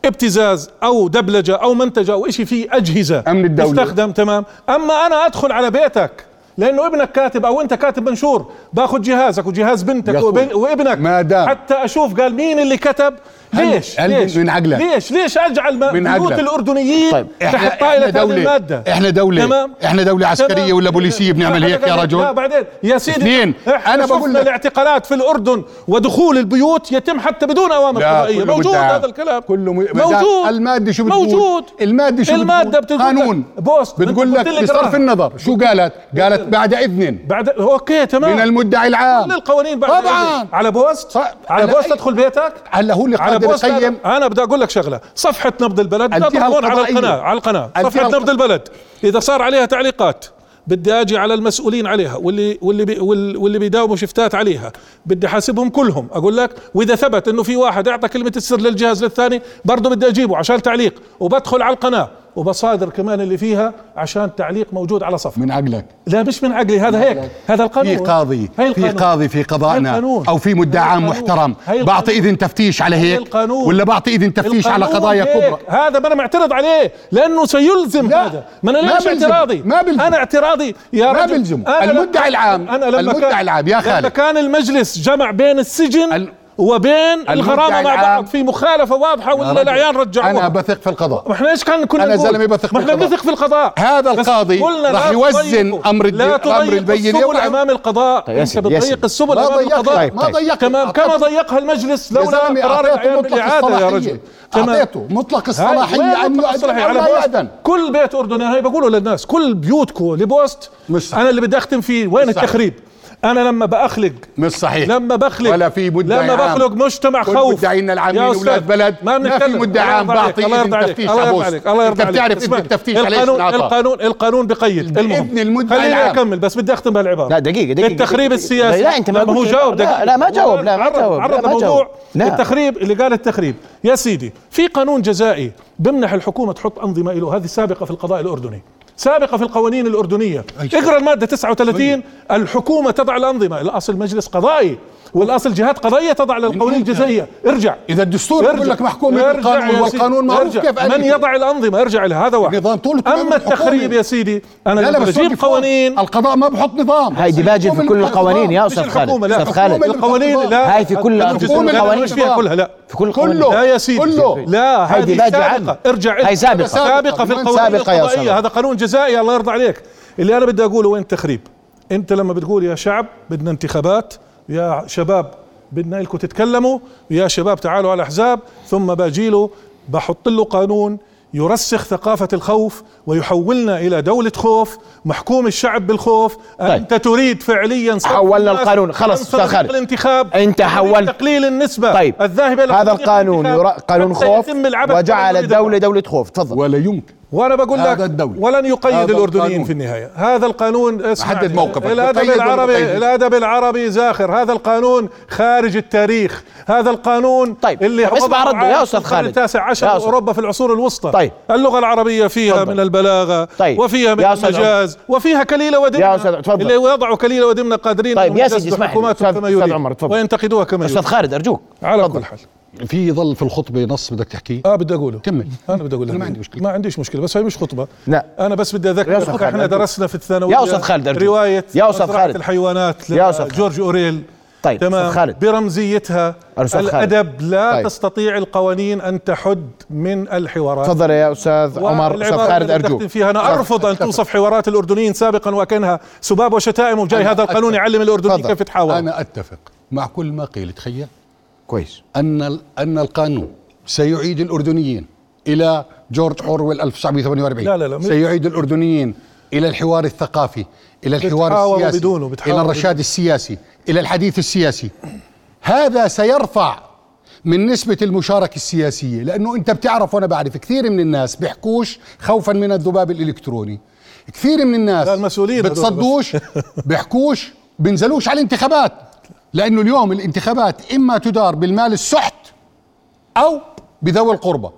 B: ابتزاز او دبلجه او منتجه او شيء فيه اجهزه
D: أمن الدولة.
B: تستخدم تمام اما انا ادخل على بيتك لانه ابنك كاتب او انت كاتب منشور باخذ جهازك وجهاز
D: يا
B: بنتك
D: أخوي،
B: وبن وابنك
D: ما دام.
B: حتى اشوف قال مين اللي كتب
D: هل-
B: ليش
D: هل
B: ليش
D: من عقلك؟
B: ليش ليش اجعل م-
D: من
B: بيوت
D: عقلك.
B: الاردنيين
A: طيب،
B: تحت طائله هذه
D: دولة
B: الماده
D: احنا دولة
B: تمام.
D: احنا دولة عسكرية
B: تمام.
D: ولا بوليسية بنعمل
B: لا،
D: هيك يا
B: لا، لا
D: رجل
B: بعدين يا سيدي
D: اثنين. أنا
B: انا
D: بقول
B: بقول
D: لك-
B: لك الاعتقالات في الاردن ودخول البيوت يتم حتى بدون اوامر
D: لا،
B: قضائيه
D: كله
B: أيوة، موجود
D: مدعى.
B: هذا الكلام
D: كله م- مدعى.
B: موجود
D: المادة شو بتقول؟
B: موجود
D: المادة شو
B: الماده
D: بتقول؟
B: بتقول لك
D: قانون.
B: بوست
D: بتقول
B: أنت
D: لك
B: قلت لي
D: بصرف
B: اقراها.
D: النظر شو قالت قالت بعد إذن
B: بعد اوكي تمام
D: من المدعي العام
B: كل طيب. القوانين بعد
D: طبعاً.
B: إذن. على بوست
D: ص-
B: على
D: على
B: بوست
D: أي-
B: ادخل بيتك
D: هلا هو اللي
B: على
D: قادر
B: بوست
D: يقيم
B: انا, أنا بدي اقول لك شغله صفحه نبض البلد لا
D: الجهة
B: تضمن على
D: القضائية.
B: القناه على القناه
D: الجهة
B: صفحه
D: الق-
B: نبض البلد اذا صار عليها تعليقات بدي اجي على المسؤولين عليها واللي واللي بي وال- واللي بيداوموا شفتات عليها بدي حاسبهم كلهم اقول لك واذا ثبت انه في واحد اعطى كلمه السر للجهاز للثاني برضه بدي اجيبه عشان تعليق وبدخل على القناه وبصادر كمان اللي فيها عشان تعليق موجود على صفحه
D: من عقلك
B: لا مش من عقلي هذا هيك هذا القانون
D: في قاضي
B: هي
D: في
B: القانون.
D: قاضي في قضائنا
B: هي القانون.
D: او في مدعي
B: هي
D: عام
B: القانون.
D: محترم
B: هي القانون.
D: بعطي اذن تفتيش على
B: هي
D: هيك
B: القانون.
D: ولا بعطي اذن تفتيش على
B: القانون
D: قضايا
B: هيك.
D: كبرى
B: هذا ما انا معترض عليه لانه سيلزم
D: لا،
B: هذا ما انا
D: ما
B: ليش
D: بيلزم.
B: اعتراضي
D: ما بيلزم.
B: انا اعتراضي يا
D: ما
B: رجل
D: بيلزم.
B: أنا لما-
D: المدعي العام.
B: انا لما
D: المدعي
B: كان
D: العام، يا
B: لما
D: خالد.
B: كان المجلس جمع بين السجن
D: ال-
B: وبين الغرامه مع
D: العام-
B: بعض في مخالفه واضحه ولا العيان
D: انا
B: رجعوها
D: بثق في القضاء
B: ما احنا ايش كان كنا
D: أنا
B: نقول؟
D: زلمة بثق
B: ما احنا
D: بالقضاء.
B: بنثق في القضاء
D: هذا
B: بس
D: القاضي
B: قلنا
D: راح
B: لا
D: يوزن
B: تضيقوا.
D: أمر الد-
B: لا
D: الأمر
B: تضيقوا
D: البينة
B: السبل
D: والعمل.
B: امام القضاء
A: طيب،
B: انت
A: ياسر، ياسر.
B: بتضيق السبل
D: ما
B: امام القضاء
D: ضيقت
A: طيب،
D: ما ضيقت
B: كما كما ضيقها المجلس
D: يا
B: لولا
D: زلمه
B: قرار
D: اعطيته
B: العام
D: مطلق
B: بالاعاده يا رجل
D: الصلاحيه
B: تمام
D: اعطيته مطلق
B: هاي وين
D: الصلاحيه ان
B: مطلق
D: يؤذن
B: الصلاحية؟
D: او
B: على
D: لا
B: بوست.
D: يأذن
B: كل بيت اردني هاي بقوله للناس كل بيوتكم لبوست
D: مش صح.
B: انا اللي بدي اختم فيه وين
D: صح.
B: التخريب انا لما باخلق
D: مش صحيح
B: لما بخلق
D: ولا في مدعي
B: لما
D: عام.
B: بخلق مجتمع
D: كل
B: خوف
D: مدعينا العامين
B: يا
D: أولاد
B: أستاذ،
D: بلد، ما في
B: بنتكلم.
D: مدعي
B: الله
D: عام
B: يرضى عليك،
D: بعطي
B: الله
D: إذن
B: يرضى عليك،
D: تفتيش
B: الله يرضى
D: عبوس.
B: عليك الله
D: أنت
B: يرضى عليك
D: بتعرف إذن
B: اسمعني.
D: التفتيش عليه
B: القانون
D: شنو أعطاه.
B: القانون القانون بقيد
D: بإذن
B: المهم
D: المدعي
B: خليني
D: العام.
B: اكمل بس بدي اختم بهالعباره
A: دقيقة دقيقة
B: التخريب
A: دقيقة.
B: السياسي
A: لا انت ما
B: لا، هو
A: قلت-
B: جاوب
A: لا,
B: دقيقة.
A: لا ما جاوب لا ما
B: عرض-
A: جاوب لا
B: عرض
A: ما جاوب
B: موضوع
A: لا
B: التخريب اللي قال التخريب يا سيدي في قانون جزائي بمنح الحكومه تحط انظمه له هذه سابقه في القضاء الاردني سابقه في القوانين الاردنيه اقرا
D: طيب.
B: الماده 39 الحكومه تضع الانظمه الاصل مجلس قضائي والاصل جهات قضائيه تضع للقوانين
D: إمتى؟
B: الجزائيه ارجع
D: اذا الدستور بيقول لك محكوم
B: ارجع
D: بالقانون
B: يا سيدي.
D: والقانون معروف
B: ارجع.
D: كيف
B: من
D: أنهي.
B: يضع الانظمه ارجع لها هذا واحد
D: النظام طول الكلام
B: اما التخريب
D: الحكومي.
B: يا سيدي انا
D: لا لا
B: لما
D: بس
B: بجيب قوانين
D: القضاء ما بحط نظام
A: هاي ديباجة في كل القوانين يا
B: مش
A: استاذ خالد
B: الحكومة، لا.
A: استاذ خالد
D: الحكومة
B: القوانين لا
A: هاي في كل-
B: القانون
A: في
D: كل
B: الجزائي لا،
D: القوانين.
B: مش فيها كلها لا
A: في كل القوانين.
D: كله
B: لا يا سيدي
D: كله
B: لا
A: هاي
B: هذه
A: ديباجة
B: سابقة
A: عامة.
B: ارجع
A: هاي
B: ارجع.
A: سابقة.
B: سابقة في
D: سابقة
B: القوانين
A: يا أستاذ
B: القضائية هذا قانون جزائي الله يرضى عليك اللي أنا بدي أقوله وين التخريب أنت لما بتقول يا شعب بدنا انتخابات يا شباب بدنا إلكم تتكلموا يا شباب تعالوا على الأحزاب ثم باجيله بحط له قانون يرسخ ثقافة الخوف ويحولنا إلى دولة خوف محكوم الشعب بالخوف
A: طيب.
B: أنت تريد فعليا صرف
A: حولنا
B: الناس
A: القانون. خلص،
B: عن
A: أستاذ
B: طريق
A: خالد.
B: الانتخاب
A: أنت
B: عن طريق
A: حولت-
B: تقليل النسبة
A: طيب
B: الذاهبة إلى
A: هذا
B: طريق
A: القانون
B: الانتخاب
A: يرا- قانون
B: حتى
A: خوف
B: يتم العبث
A: وجعل
B: الذي
A: الدولة دولة خوف تفضل
D: ولا يمكن
B: وانا بقول
D: هذا
B: لك
D: الدولة.
B: ولن يقيد
D: هذا
B: الاردنيين
D: القانون.
B: في النهايه هذا القانون اسمع
D: حدد موقفك. طيب،
B: الادب
D: يقيد ولا
B: العربي
D: يقيد؟
B: الادب العربي زاخر هذا القانون خارج التاريخ هذا القانون
A: طيب.
B: اللي
A: طب اسمع
B: وضعه
A: رده يا
B: عام
A: أستاذ
B: القرن
A: خالد.
B: التاسع عشر
A: يا أستاذ.
B: اوروبا في العصور الوسطى
A: طيب.
B: اللغه العربيه فيها
A: تفضل.
B: من البلاغه
A: طيب.
B: وفيها من
A: يا أستاذ عمر.
B: المجاز وفيها كليله ودمنه
A: يا أستاذ- تفضل.
B: اللي وضعوا كليله ودمنه قادرين
A: طيب،
B: أنهم
A: يا سيدي،
B: يسدوا
A: اسمح لي.
B: حكوماتهم
A: أستاذ-
B: كما
A: أستاذ
B: يريد
A: عمر، تفضل.
B: وينتقدوها كما
A: أستاذ
B: يريد
A: خالد أرجوك
B: على
A: تفضل.
B: كل حال
D: في ظل في الخطبه نص بدك تحكيه
B: اه بدي اقوله
D: كمل.
B: انا بدي اقول
D: أنا
B: لك.
D: ما عندي مشكلة.
B: ما عنديش مشكله بس هي مش خطبه
A: لا.
B: انا بس بدي
A: يا أستاذ
B: اذكرك
A: خالد
B: احنا
A: أرجوك.
B: درسنا في الثانويه
A: يا أستاذ خالد أرجوك.
B: روايه
A: يا أستاذ
B: مزرعة
A: خالد.
B: الحيوانات
A: يا أستاذ خالد.
B: جورج اوريل
A: طيب، أستاذ
B: تمام
A: خالد.
B: برمزيتها
A: أستاذ خالد.
B: الادب لا
A: طيب.
B: تستطيع القوانين ان تحد من الحوارات
A: تفضل يا أستاذ عمر
B: والعبارة
A: أستاذ خالد
B: اللي بدي
A: أرجوك
B: أختم فيها انا ارفض ان توصف حوارات الاردنيين سابقا وكانها سباب وشتائم وجاي
D: أنا
B: هذا القانون
D: أتفق.
B: يعلم الاردني
D: تفضل.
B: كيف يتحاور
D: انا اتفق مع كل ما قيل تخيل
A: كويس
D: ان ال- ان القانون سيعيد الاردنيين الى جورج اورويل 1948
B: لا، لا، لا.
D: سيعيد الاردنيين الى الحوار الثقافي الى الحوار
B: بتحاوروا
D: السياسي
B: بدونه، بتحاوروا
D: الى الرشاد
B: بدونه.
D: السياسي الى الحديث السياسي هذا سيرفع من نسبة المشاركة السياسية لأنه أنت بتعرف وأنا بعرف كثير من الناس بيحكوش خوفا من الذباب الإلكتروني كثير من الناس
B: لا، المسؤولين هذول بس.
D: بتصدوش بيحكوش بينزلوش على الانتخابات لأنه اليوم الانتخابات إما تدار بالمال السحت أو بذوي القربة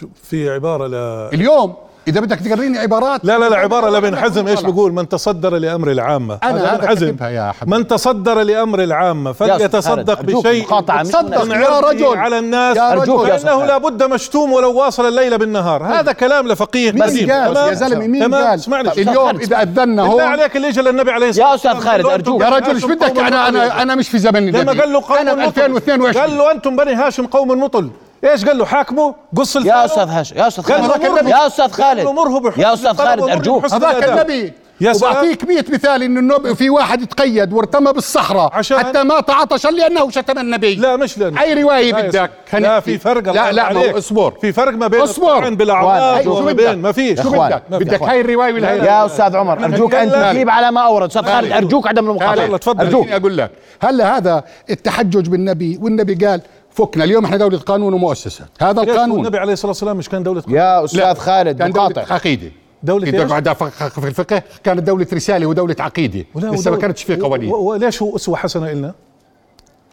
B: شو- في عباره ل
D: اليوم إذا بدك تقريني عبارات
B: لا لا لا عبارة لابن حزم ايش بقول من تصدر لأمر العامة
D: أنا
B: هذا
D: هذا
B: ابن حزم
D: كاتبها يا حبيبي.
B: من تصدر لأمر العامة فليتصدق
A: أرجوك،
B: بشيء
A: مقاطعة من-
D: تصدق
B: من
D: يا
B: عرضه
D: رجل
B: على الناس
D: يا
A: أرجوك
D: رجل
A: يا أستاذ
B: فإنه
A: خالد.
B: لابد مشتوم ولو واصل الليل بالنهار هذا كلام لفقيه
D: مين
B: قديم
D: قال
B: تمام؟
D: يا زلمة مين
B: تمام؟
D: قال طيب،
B: اسمعني
D: اليوم إذا أذنا
B: بالله
D: هون
B: عليك اللي اجى للنبي عليه الصلاة
A: يا أستاذ
B: والسلام،
A: خالد،
B: قال له
A: أرجوك.
B: أنتم
D: يا
B: بني
D: رجل ايش
B: هاشم
D: بدك
B: قوم
D: انا انا انا مش في زمن النبي
B: لما قال له قوم
D: انا ب 2022
B: قال له انتم بني هاشم قوم مطل ايش قال له حاكمه قص لسانه
A: يا أستاذ هاش يا أستاذ
B: قال له
A: خالد
B: مرهب.
A: يا أستاذ
B: قال
A: خالد
B: له مرهب بحسن
A: يا أستاذ
B: الطلب
A: خالد
B: ومرهب
A: أرجوك
B: بحسن
D: هذاك
B: الأداء.
D: النبي
B: يا سلام.
D: وبعطيك 100 مثال انه النبي في واحد تقيد وارتمى بالصحراء
B: عشان-
D: حتى مات عطشا لانه شتم النبي
B: لا مش لأنه
D: اي روايه
B: لا يا
D: بدك
B: سيدي. لا في فرق
D: لا
B: الله
D: لا ما
B: عليك.
D: هو اصبر
B: في فرق ما بين
D: اصبر
B: الطعن بالاعراض
A: أخوان،
B: وما
A: شو
B: بين ما فيش
D: شو
A: أخوان،
D: بدك
A: ما في
D: بدك
A: أخوان.
D: هاي الروايه ولا هاي
A: يا أستاذ عمر أرجوك أن
B: نتكلم.
A: تجيب على ما أورد أستاذ خالد
D: خالد.
A: أرجوك عدم المقاطعة
B: يلا، تفضل.
A: أرجوك
D: خليني اقول لك هلا هذا التحجج بالنبي والنبي قال فكنا اليوم احنا دوله قانون ومؤسسات هذا
B: ليش
D: القانون
B: النبي عليه الصلاه والسلام مش كان دوله
A: يا أستاذ
D: لا.
A: خالد
D: كان دولة
A: مقاطع
D: عقيدة
B: دولة
D: إذا
B: إيش؟
D: بعد فق- فق- في الفقه كانت دولة رسالة ودولة عقيدة
B: ولا-
D: لسه ما
B: ودولة-
D: كانتش في قوانين
B: و- وليش هو اسوه حسنه لنا؟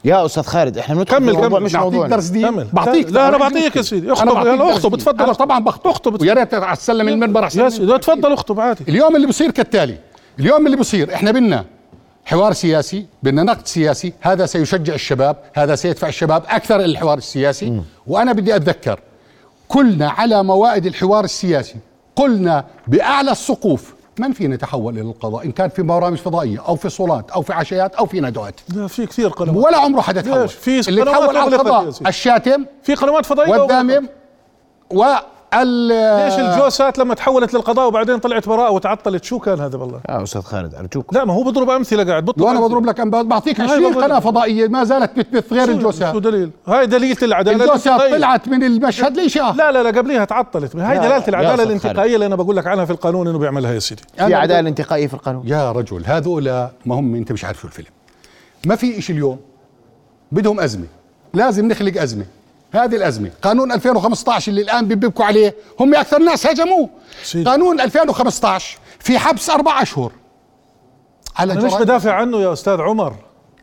A: يا أستاذ خالد إحنا بندخل
B: كمل،
A: في موضوع
B: كمل.
A: مش
D: بعطيك
A: موضوع
D: درس دين
B: كمل.
D: بعطيك
B: لا، أنا
D: درس
B: بعطيك
D: دين.
B: يا سيدي.
D: أنا
B: اخطب،
D: بعطيك
B: يلا
D: درس
B: اخطب،
D: دين.
B: تفضل
D: أنا
B: اخطب.
D: طبعا بخطب
B: اخطب.
D: ويا ريت استلم المنبر
B: يا
D: عشان
B: سيدي تفضل اخطب عادي
D: اليوم اللي بصير كالتالي اليوم اللي بصير احنا بدنا حوار سياسي بدنا نقد سياسي هذا سيشجع الشباب هذا سيدفع الشباب اكثر إلى الحوار السياسي وانا بدي اتذكر كلنا على موائد الحوار السياسي قلنا باعلى السقوف ما فينا نتحول الى القضاء ان كان في برامج فضائيه او في صولات او في عشيات او في ندوات
B: لا في كثير قنوات
D: ولا عمره حدا تحول
B: ليش؟ في
D: اللي
B: قنوات
D: تحول على
B: أغلقت يا
D: القضاء
B: سيدي.
D: الشاتم
B: في قنوات فضائيه
D: والذامم
B: وغيرها.
D: وال
B: ليش الجوسات لما تحولت للقضاء وبعدين طلعت براءه وتعطلت شو كان هذا بالله؟
A: يا استاذ خالد ارجوك
B: لا ما هو بضرب امثله قاعد بطلع
D: لو انا بضرب لك أنباء، بعطيك 20
B: بضرب.
D: قناه فضائيه ما زالت بتبث غير
B: أيوة، شو
D: الجوسات
B: دليل؟ هاي دليله العداله
D: الجوسات
B: الانتقائية.
D: طلعت من المشهد ليش آه.
B: لا لا لا قبليها تعطلت هاي
A: لا،
B: دلاله
A: لا، يا
B: العداله
A: أستاذ
B: الانتقائيه اللي انا بقول لك عنها في القانون انه بيعملها يا سيدي
A: في عداله انتقائيه في القانون
D: يا رجل هذولا ما هم انت مش عارف شو الفيلم ما في إشي اليوم بدهم ازمه لازم نخلق ازمه هذه الازمه قانون 2015 اللي الان بيبكوا عليه هم اكثر ناس هجموه
B: سيدي.
D: قانون 2015 في حبس اربع اشهر على
B: انا مش
D: جرائم-
B: بدافع عنه يا استاذ عمر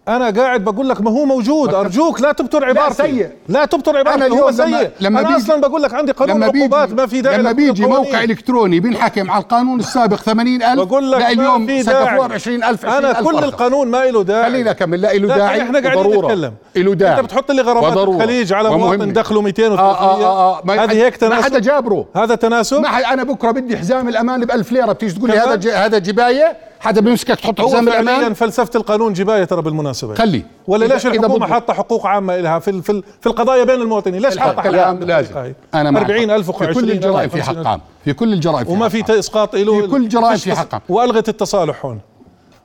B: انا قاعد بقول لك ما هو موجود ارجوك لا تبتر عبارتي
D: سيء.
B: لا تبتر عبارتي
D: أنا
B: أنا هو
D: اليوم لما-
B: سيء
D: لما
B: انا
D: بيجي-
B: اصلا بقول لك عندي قانون عقوبات ما في داعي
D: لما
B: لكل
D: بيجي
B: القوانين.
D: موقع الكتروني بنحكم على القانون السابق 80000
B: بقول لك
D: لا
B: اليوم
D: اليوم
B: في
D: سقفوها ب
B: داعي
D: 20000
B: انا كل القانون ما له داعي
D: خلينا اكمل لا له داعي
B: احنا قاعدين
D: وضرورة.
B: نتكلم
D: له داعي
B: انت بتحط لي غرامات
D: وضرورة.
B: الخليج على مواطن
D: ومهمة.
B: دخله 200
D: آه آه آه آه. ما
B: هذه
D: حد-
B: هيك تناسب
D: ما حدا جابره
B: هذا تناسب
D: ما حد انا بكره بدي حزام الامان ب 1000 ليره بتيجي تقول لي
B: كمان؟
D: هذا ج- هذا جبايه حدا بيمسكك تحط
B: هو
D: حزام
B: فعليا
D: الامان
B: فلسفه القانون جبايه ترى بالمناسبه
D: خلي
B: ولا ليش الحكومه
D: بضبط.
B: حاطه حقوق عامه لها في ال- في, ال- في القضايا بين المواطنين ليش حاطه
D: الحق
B: حقوق طيب.
D: العام
B: عامه
D: لازم
B: هاي؟
D: انا معك.
B: 40000
D: في كل الجرائم في حق عام في كل الجرائم في
B: وما
D: حق
B: في
D: عام.
B: ت- اسقاط له
D: في كل جرائم في حق عام.
B: والغت التصالح هون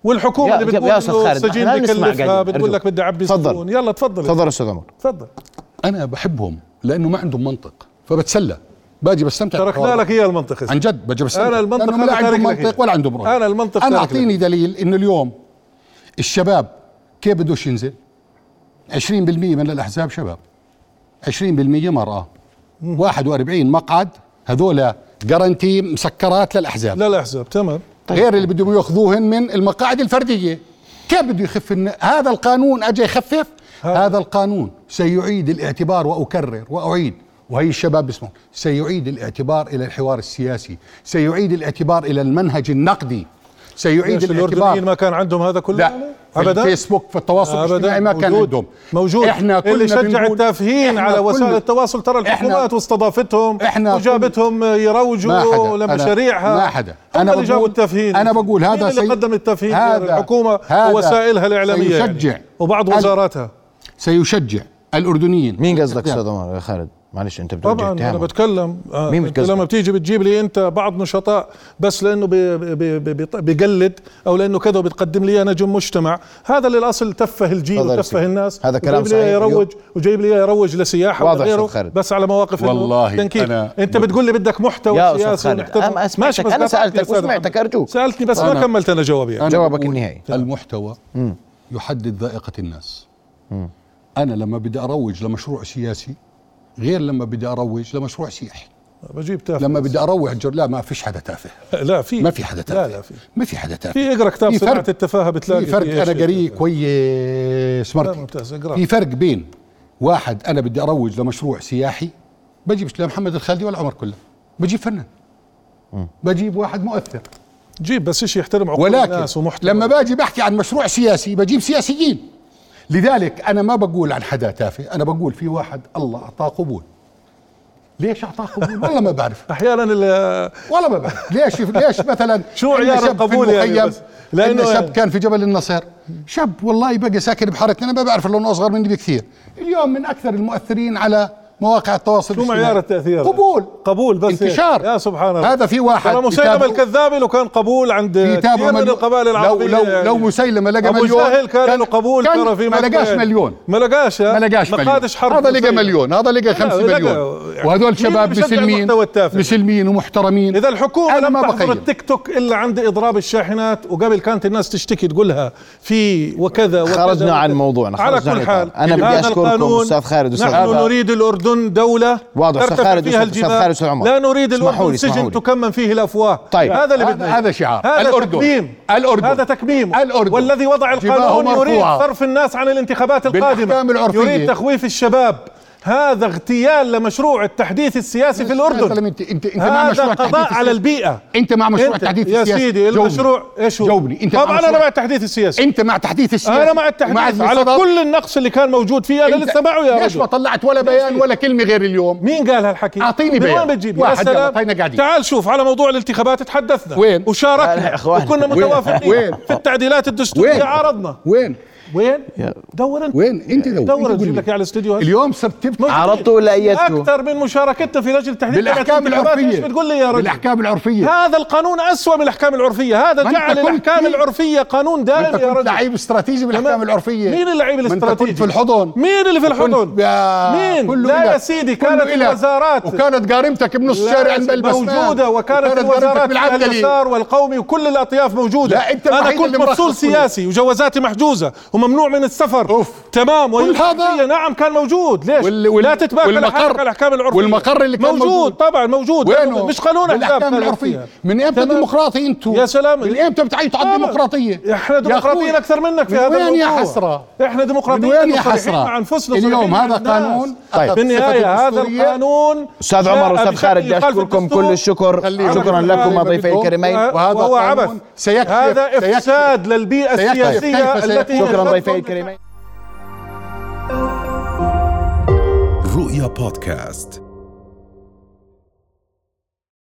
B: والحكومه
A: يا-
B: اللي
A: يا-
B: بتقول
A: يا أستاذ
B: إنه
A: خالد،
B: السجين
A: أنا نسمع
B: بكلفها
A: قاعدين.
B: بتقول لك
A: أرجوك.
B: بدي اعبي
A: تفضل.
B: السجون يلا تفضل
A: تفضل استاذ عمر
B: تفضل
D: انا بحبهم لانه ما عندهم منطق فبتسلى باجي بستمتع
B: تركنا
D: بالحوار.
B: لك اياه المنطق يا
D: عن
B: سيدي.
D: جد بجيب السبب
B: أنا المنطق
D: لأنهم
B: هذا
D: لا عندهم
B: تارك لك إياه.
D: منطق ولا عندهم روح
B: أنا المنطق
D: أنا
B: تارك
D: أعطيني دليل إنه اليوم الشباب كيف بدوش ينزل 20% من الأحزاب شباب 20% مرأة 41 مقعد هذول جرانتي مسكرات للأحزاب
B: لا لا احزاب تمام
D: غير اللي بدهم ياخذوهن من المقاعد الفرديه كيف بده يخف الن- هذا القانون اجى يخفف
B: هذا.
D: هذا القانون سيعيد الاعتبار واكرر واعيد وهي الشباب بيسمعوا سيعيد الاعتبار الى الحوار السياسي سيعيد الاعتبار الى المنهج النقدي سيعيد
B: ليش
D: الاعتبار
B: الاردنيين ما كان عندهم هذا كله
D: لا في
B: ابدا
D: الفيسبوك في التواصل
B: أبداً.
D: الاجتماعي ما كان
B: موجود.
D: عندهم
B: موجود
D: احنا كلنا
B: اللي شجع
D: بنقول-
B: التافهين
D: إحنا
B: على وسائل
D: كل-
B: التواصل ترى
D: إحنا-
B: الحكومات واستضافتهم
D: إحنا
B: وجابتهم
D: ما حدا.
B: يروجوا
D: أنا-
B: لمشاريعها
D: ما حدا.
B: هم
D: أنا
B: اللي جابوا
D: بقول-
B: التافهين
D: أنا بقول هذا
B: مين اللي
D: سي-
B: قدم التافهين
D: هذا-
B: الحكومه
D: هذا
B: ووسائلها الاعلاميه
D: سيشجع.
B: يعني وبعض
D: هذا-
B: وزاراتها
D: سيشجع الاردنيين
A: مين قصدك
D: يعني.
A: استاذ عمر يا خالد معلش انت بتوجه
B: طبعا انا
A: اتهام
B: بتكلم آه
A: مين
B: انت
A: بتكذب؟
B: لما بتيجي بتجيب لي انت بعض نشطاء بس لانه بي بي بي بي بيقلد او لانه كذا بتقدم لي انا نجم مجتمع هذا اللي الاصل تفه الجيل
A: تفضل يا
B: وتفه
A: سيدي.
B: الناس
A: هذا كلام
B: وجايب لي إياه
A: صحيح.
B: يروج وجايب لي إياه يروج لسياحه
A: واضح
B: وغيره
A: أستاذ خالد.
B: بس على مواقف إنه
D: والله
B: تنكيل
D: أنا-
B: انت بتقول لي بدك محتوى
A: يا أستاذ
B: سياسي
A: خالد،
B: ونحترم.
A: أنا سمعتك، أنا
B: بس أعطني
A: سألتك
B: يا أستاذ
A: وسمعتك،
B: عمر.
A: أرجوك.
B: سالتني بس ما
D: أنا-
B: كملت انا جوابي يعني.
D: أنا
A: جوابك
D: بقول
A: النهائي.
D: المحتوى يحدد ذائقة الناس أنا لما بدي أروج لمشروع سياسي غير لما بدي أروج لمشروع سياحي
B: بجيب تافه
D: لما بدي أروج جر... لا ما فيش حدا تافه
B: لا في
D: ما في حدا
B: لا
D: تافه
B: لا في
D: ما في حدا تافه
B: في اقرا كتاب
D: في
B: صناعه
D: فرق.
B: التفاهه بتلاقي
D: في فرق
B: فيه
D: أنا
B: شيء
D: قاريه
B: تافه.
D: كويس
B: لا،
D: مرتي
B: ممتاز اقرا
D: في فرق بين واحد أنا بدي أروج لمشروع سياحي بجيبش لا محمد الخالدي ولا عمر كله بجيب فنان بجيب واحد مؤثر
B: جيب بس شيء يحترم عقول
D: ولكن
B: الناس ومحتوى
D: لما باجي بحكي عن مشروع سياسي بجيب سياسيين لذلك انا ما بقول عن حدا تافه انا بقول في واحد الله اعطاه قبول ليش اعطاه قبول والله ما بعرف
B: احيانا ال-
D: والله ما بعرف ليش ليش مثلا
B: شو
D: عندنا
B: عيار
D: شاب في
B: القبول يعني
D: المخيم،
B: بس؟ لأنه
D: عندنا
B: يعني-
D: شاب كان في جبل النصير شاب والله بقى ساكن بحارتنا انا ما بعرف لانه اصغر مني بكثير اليوم من اكثر المؤثرين على مواقع التواصل
B: شو
D: الاجتماعي.
B: معيار التاثير؟
D: قبول
B: قبول بس
D: انتشار
B: هيك. يا سبحان الله
D: هذا في واحد
B: ترى مسيلمه
D: يتابعه-
B: الكذاب له كان قبول عند
D: يتابعوا
B: كثير من
D: مليون.
B: القبائل العربيه
D: لو لو لو
B: يعني.
D: مسيلمه لقى
B: ابو
D: مليون
B: جهل كان له قبول
D: كان
B: ترى في
D: ما
B: مكة
D: لقاش
B: يعني.
D: مليون
B: ما لقاش
D: ما لقاش
B: ما
D: مليون
B: قادش حرب
D: هذا لقى
B: مسيلمة.
D: مليون هذا لقى
B: لا،
D: 5
B: لقى
D: مليون
B: يعني
D: وهذول
B: مين
D: شباب
B: بيشجع
D: مسلمين
B: المحتوى التافه؟
D: مسلمين ومحترمين
B: اذا الحكومه
D: أنا
B: لم
D: ما
B: تحظر
D: بخيل.
B: التيك توك الا عند اضراب الشاحنات وقبل كانت الناس تشتكي تقولها في وكذا وكذا
A: خرجنا
B: وكذا.
A: عن موضوعنا،
B: على
A: خرجنا عن
B: كل
A: الإطار.
B: حال
A: أنا بدي
B: هذا
A: أشكركم
B: القانون
A: أستاذ خالد وأستاذ
B: نحن
A: عمر.
B: نريد الاردن دوله
A: واضح، أستاذ
B: ترتفع
A: خالد
B: فيها
A: وأستاذ
B: الجبال.
A: خالد وأستاذ عمر.
B: لا نريد
A: اسمحوا
B: الاردن
A: لي، اسمحوا
B: سجن
A: لي.
B: تكمن فيه الافواه
A: طيب.
B: هذا اللي
D: هذا-
B: بدنا
D: هذا شعار.
B: هذا
D: الأردن.
B: تكميم
D: الأردن.
B: هذا تكميم
D: الأردن.
B: والذي وضع
D: جباهه
B: القانون يريد
D: مرفوعة.
B: صرف الناس عن الانتخابات
D: بالأحكام
B: القادمه
D: العرفية.
B: يريد تخويف الشباب هذا اغتيال لمشروع التحديث السياسي في
D: يا
B: الأردن
D: زلمة، انت انت انت مع
B: هذا
D: مشروع
B: قضاء
D: التحديث
B: على
D: السياسي.
B: البيئة
D: انت مع مشروع التحديث
B: يا
D: السياسي
B: سيدي
D: جاوبني.
B: المشروع ايش هو؟
D: جاوبني انت مع
B: طبعا انا
D: مشروع-
B: مع التحديث السياسي
D: انت مع تحديث السياسي
B: انا مع التحديث على
D: الصدف.
B: كل النقص اللي كان موجود فيه انا
D: انت
B: لسه معه يا
D: ليش ما
B: رجل
D: طلعت ولا بيان ولا كلمه غير اليوم
B: مين قال هالحكي؟
D: أعطيني
B: من
D: بيان.
B: وين بتجيب؟ يا
D: واحد يلا،
B: سلام
D: طينا قاعدين.
B: تعال شوف على موضوع الانتخابات تحدثنا
D: وين؟
A: لا، لا يا
B: وشاركنا
A: إخوان.
B: وكنا
D: وين؟
B: متوافقين
D: وين؟
B: في التعديلات الدستورية عارضنا
D: وين
B: وين؟ دور انت
D: وين انت
B: دور
D: دور انت قول
B: اجيب
D: لي.
B: لك إياه على الاستديو هسه.
D: اليوم صرت آه، تفتح
A: عرضته ولا ايدته؟
B: اكثر من مشاركتنا في لجنه تحديد
D: بالاحكام
B: الانتخابات.
D: العرفيه
B: ايش بتقول لي يا رجل؟
D: بالاحكام العرفيه
B: هذا القانون أسوأ من الأحكام العرفية هذا
D: ما أنت
B: جعل
D: كنت
B: الأحكام
D: مين؟
B: العرفية قانون
D: انت
B: دائم يا
D: كنت
B: رجل
D: لعيب استراتيجي بالاحكام
B: تمام.
D: العرفيه
B: مين اللعيب
D: ما انت
B: الاستراتيجي؟
D: كنت في الحضن
B: مين اللي في الحضن؟
D: كنت يا-
B: مين؟
D: كله
B: لا
D: إلك.
B: يا سيدي
D: كله
B: كانت
D: إلك.
B: الوزارات
D: وكانت قارمتك بنص
B: لا،
D: الشارع عند البسمان
B: موجودة وكانت
D: وكانت
B: الوزارات
D: قارمتك
B: من
D: بالعبدلي
B: اليسار والقومي وكل الأطياف موجودة
D: لا، أنت
B: أنا
D: الوحيد
B: كنت
D: اللي مرخص
B: مسؤول
D: كله.
B: سياسي وجوازاتي محجوزة وممنوع من السفر
D: أوف.
B: تمام
D: كل هذا؟
B: والحرية نعم كان موجود ليش؟
D: وال- وال-
B: لا تتباهى
D: والمقر-
B: على الأحكام العرفية
D: والمقر اللي كان موجود.
B: موجود طبعا موجود
D: وينه؟
B: مش قانون
D: بالاحكام
B: الأحكام
D: العرفيه من امتى
B: تمام.
D: ديمقراطي انتوا؟
B: يا سلام.
D: من امتى بتعيطوا على
B: طبعاً.
D: الديمقراطيه؟
B: احنا آه، ديمقراطيين
D: أخوي،
B: اكثر منك في
D: من
B: هذا
D: وين يا
B: الموضوع.
D: حسره؟
B: احنا
D: من
B: ديمقراطيين
D: وين يا
B: وصريحين
D: حسره؟
B: مع انفسنا صريحين
D: اليوم
B: مع
D: هذا
B: الناس.
D: قانون
A: طيب.
D: أخذ
B: بالنهايه
D: صفة
B: هذا
D: دستورية.
B: القانون
A: استاذ
B: جاء
A: عمر استاذ
B: بشكل
A: خالد بدي
B: يخالف
A: اشكركم
B: الدستور.
A: كل الشكر
D: خليه
A: شكرا
D: يعمل
A: لكما
D: اللي
A: ضيفي
D: بده.
A: الكريمين
D: وهذا
B: وهو
D: قانون
B: عبث
D: سيكشف-
B: هذا
D: سيكشف.
B: افساد للبيئه
D: سيكشف.
B: السياسيه
D: كيف سيكشف؟
B: التي
A: شكرا
B: نشأت
A: ضيفي
B: من-
A: الكريمين
C: رؤيا بودكاست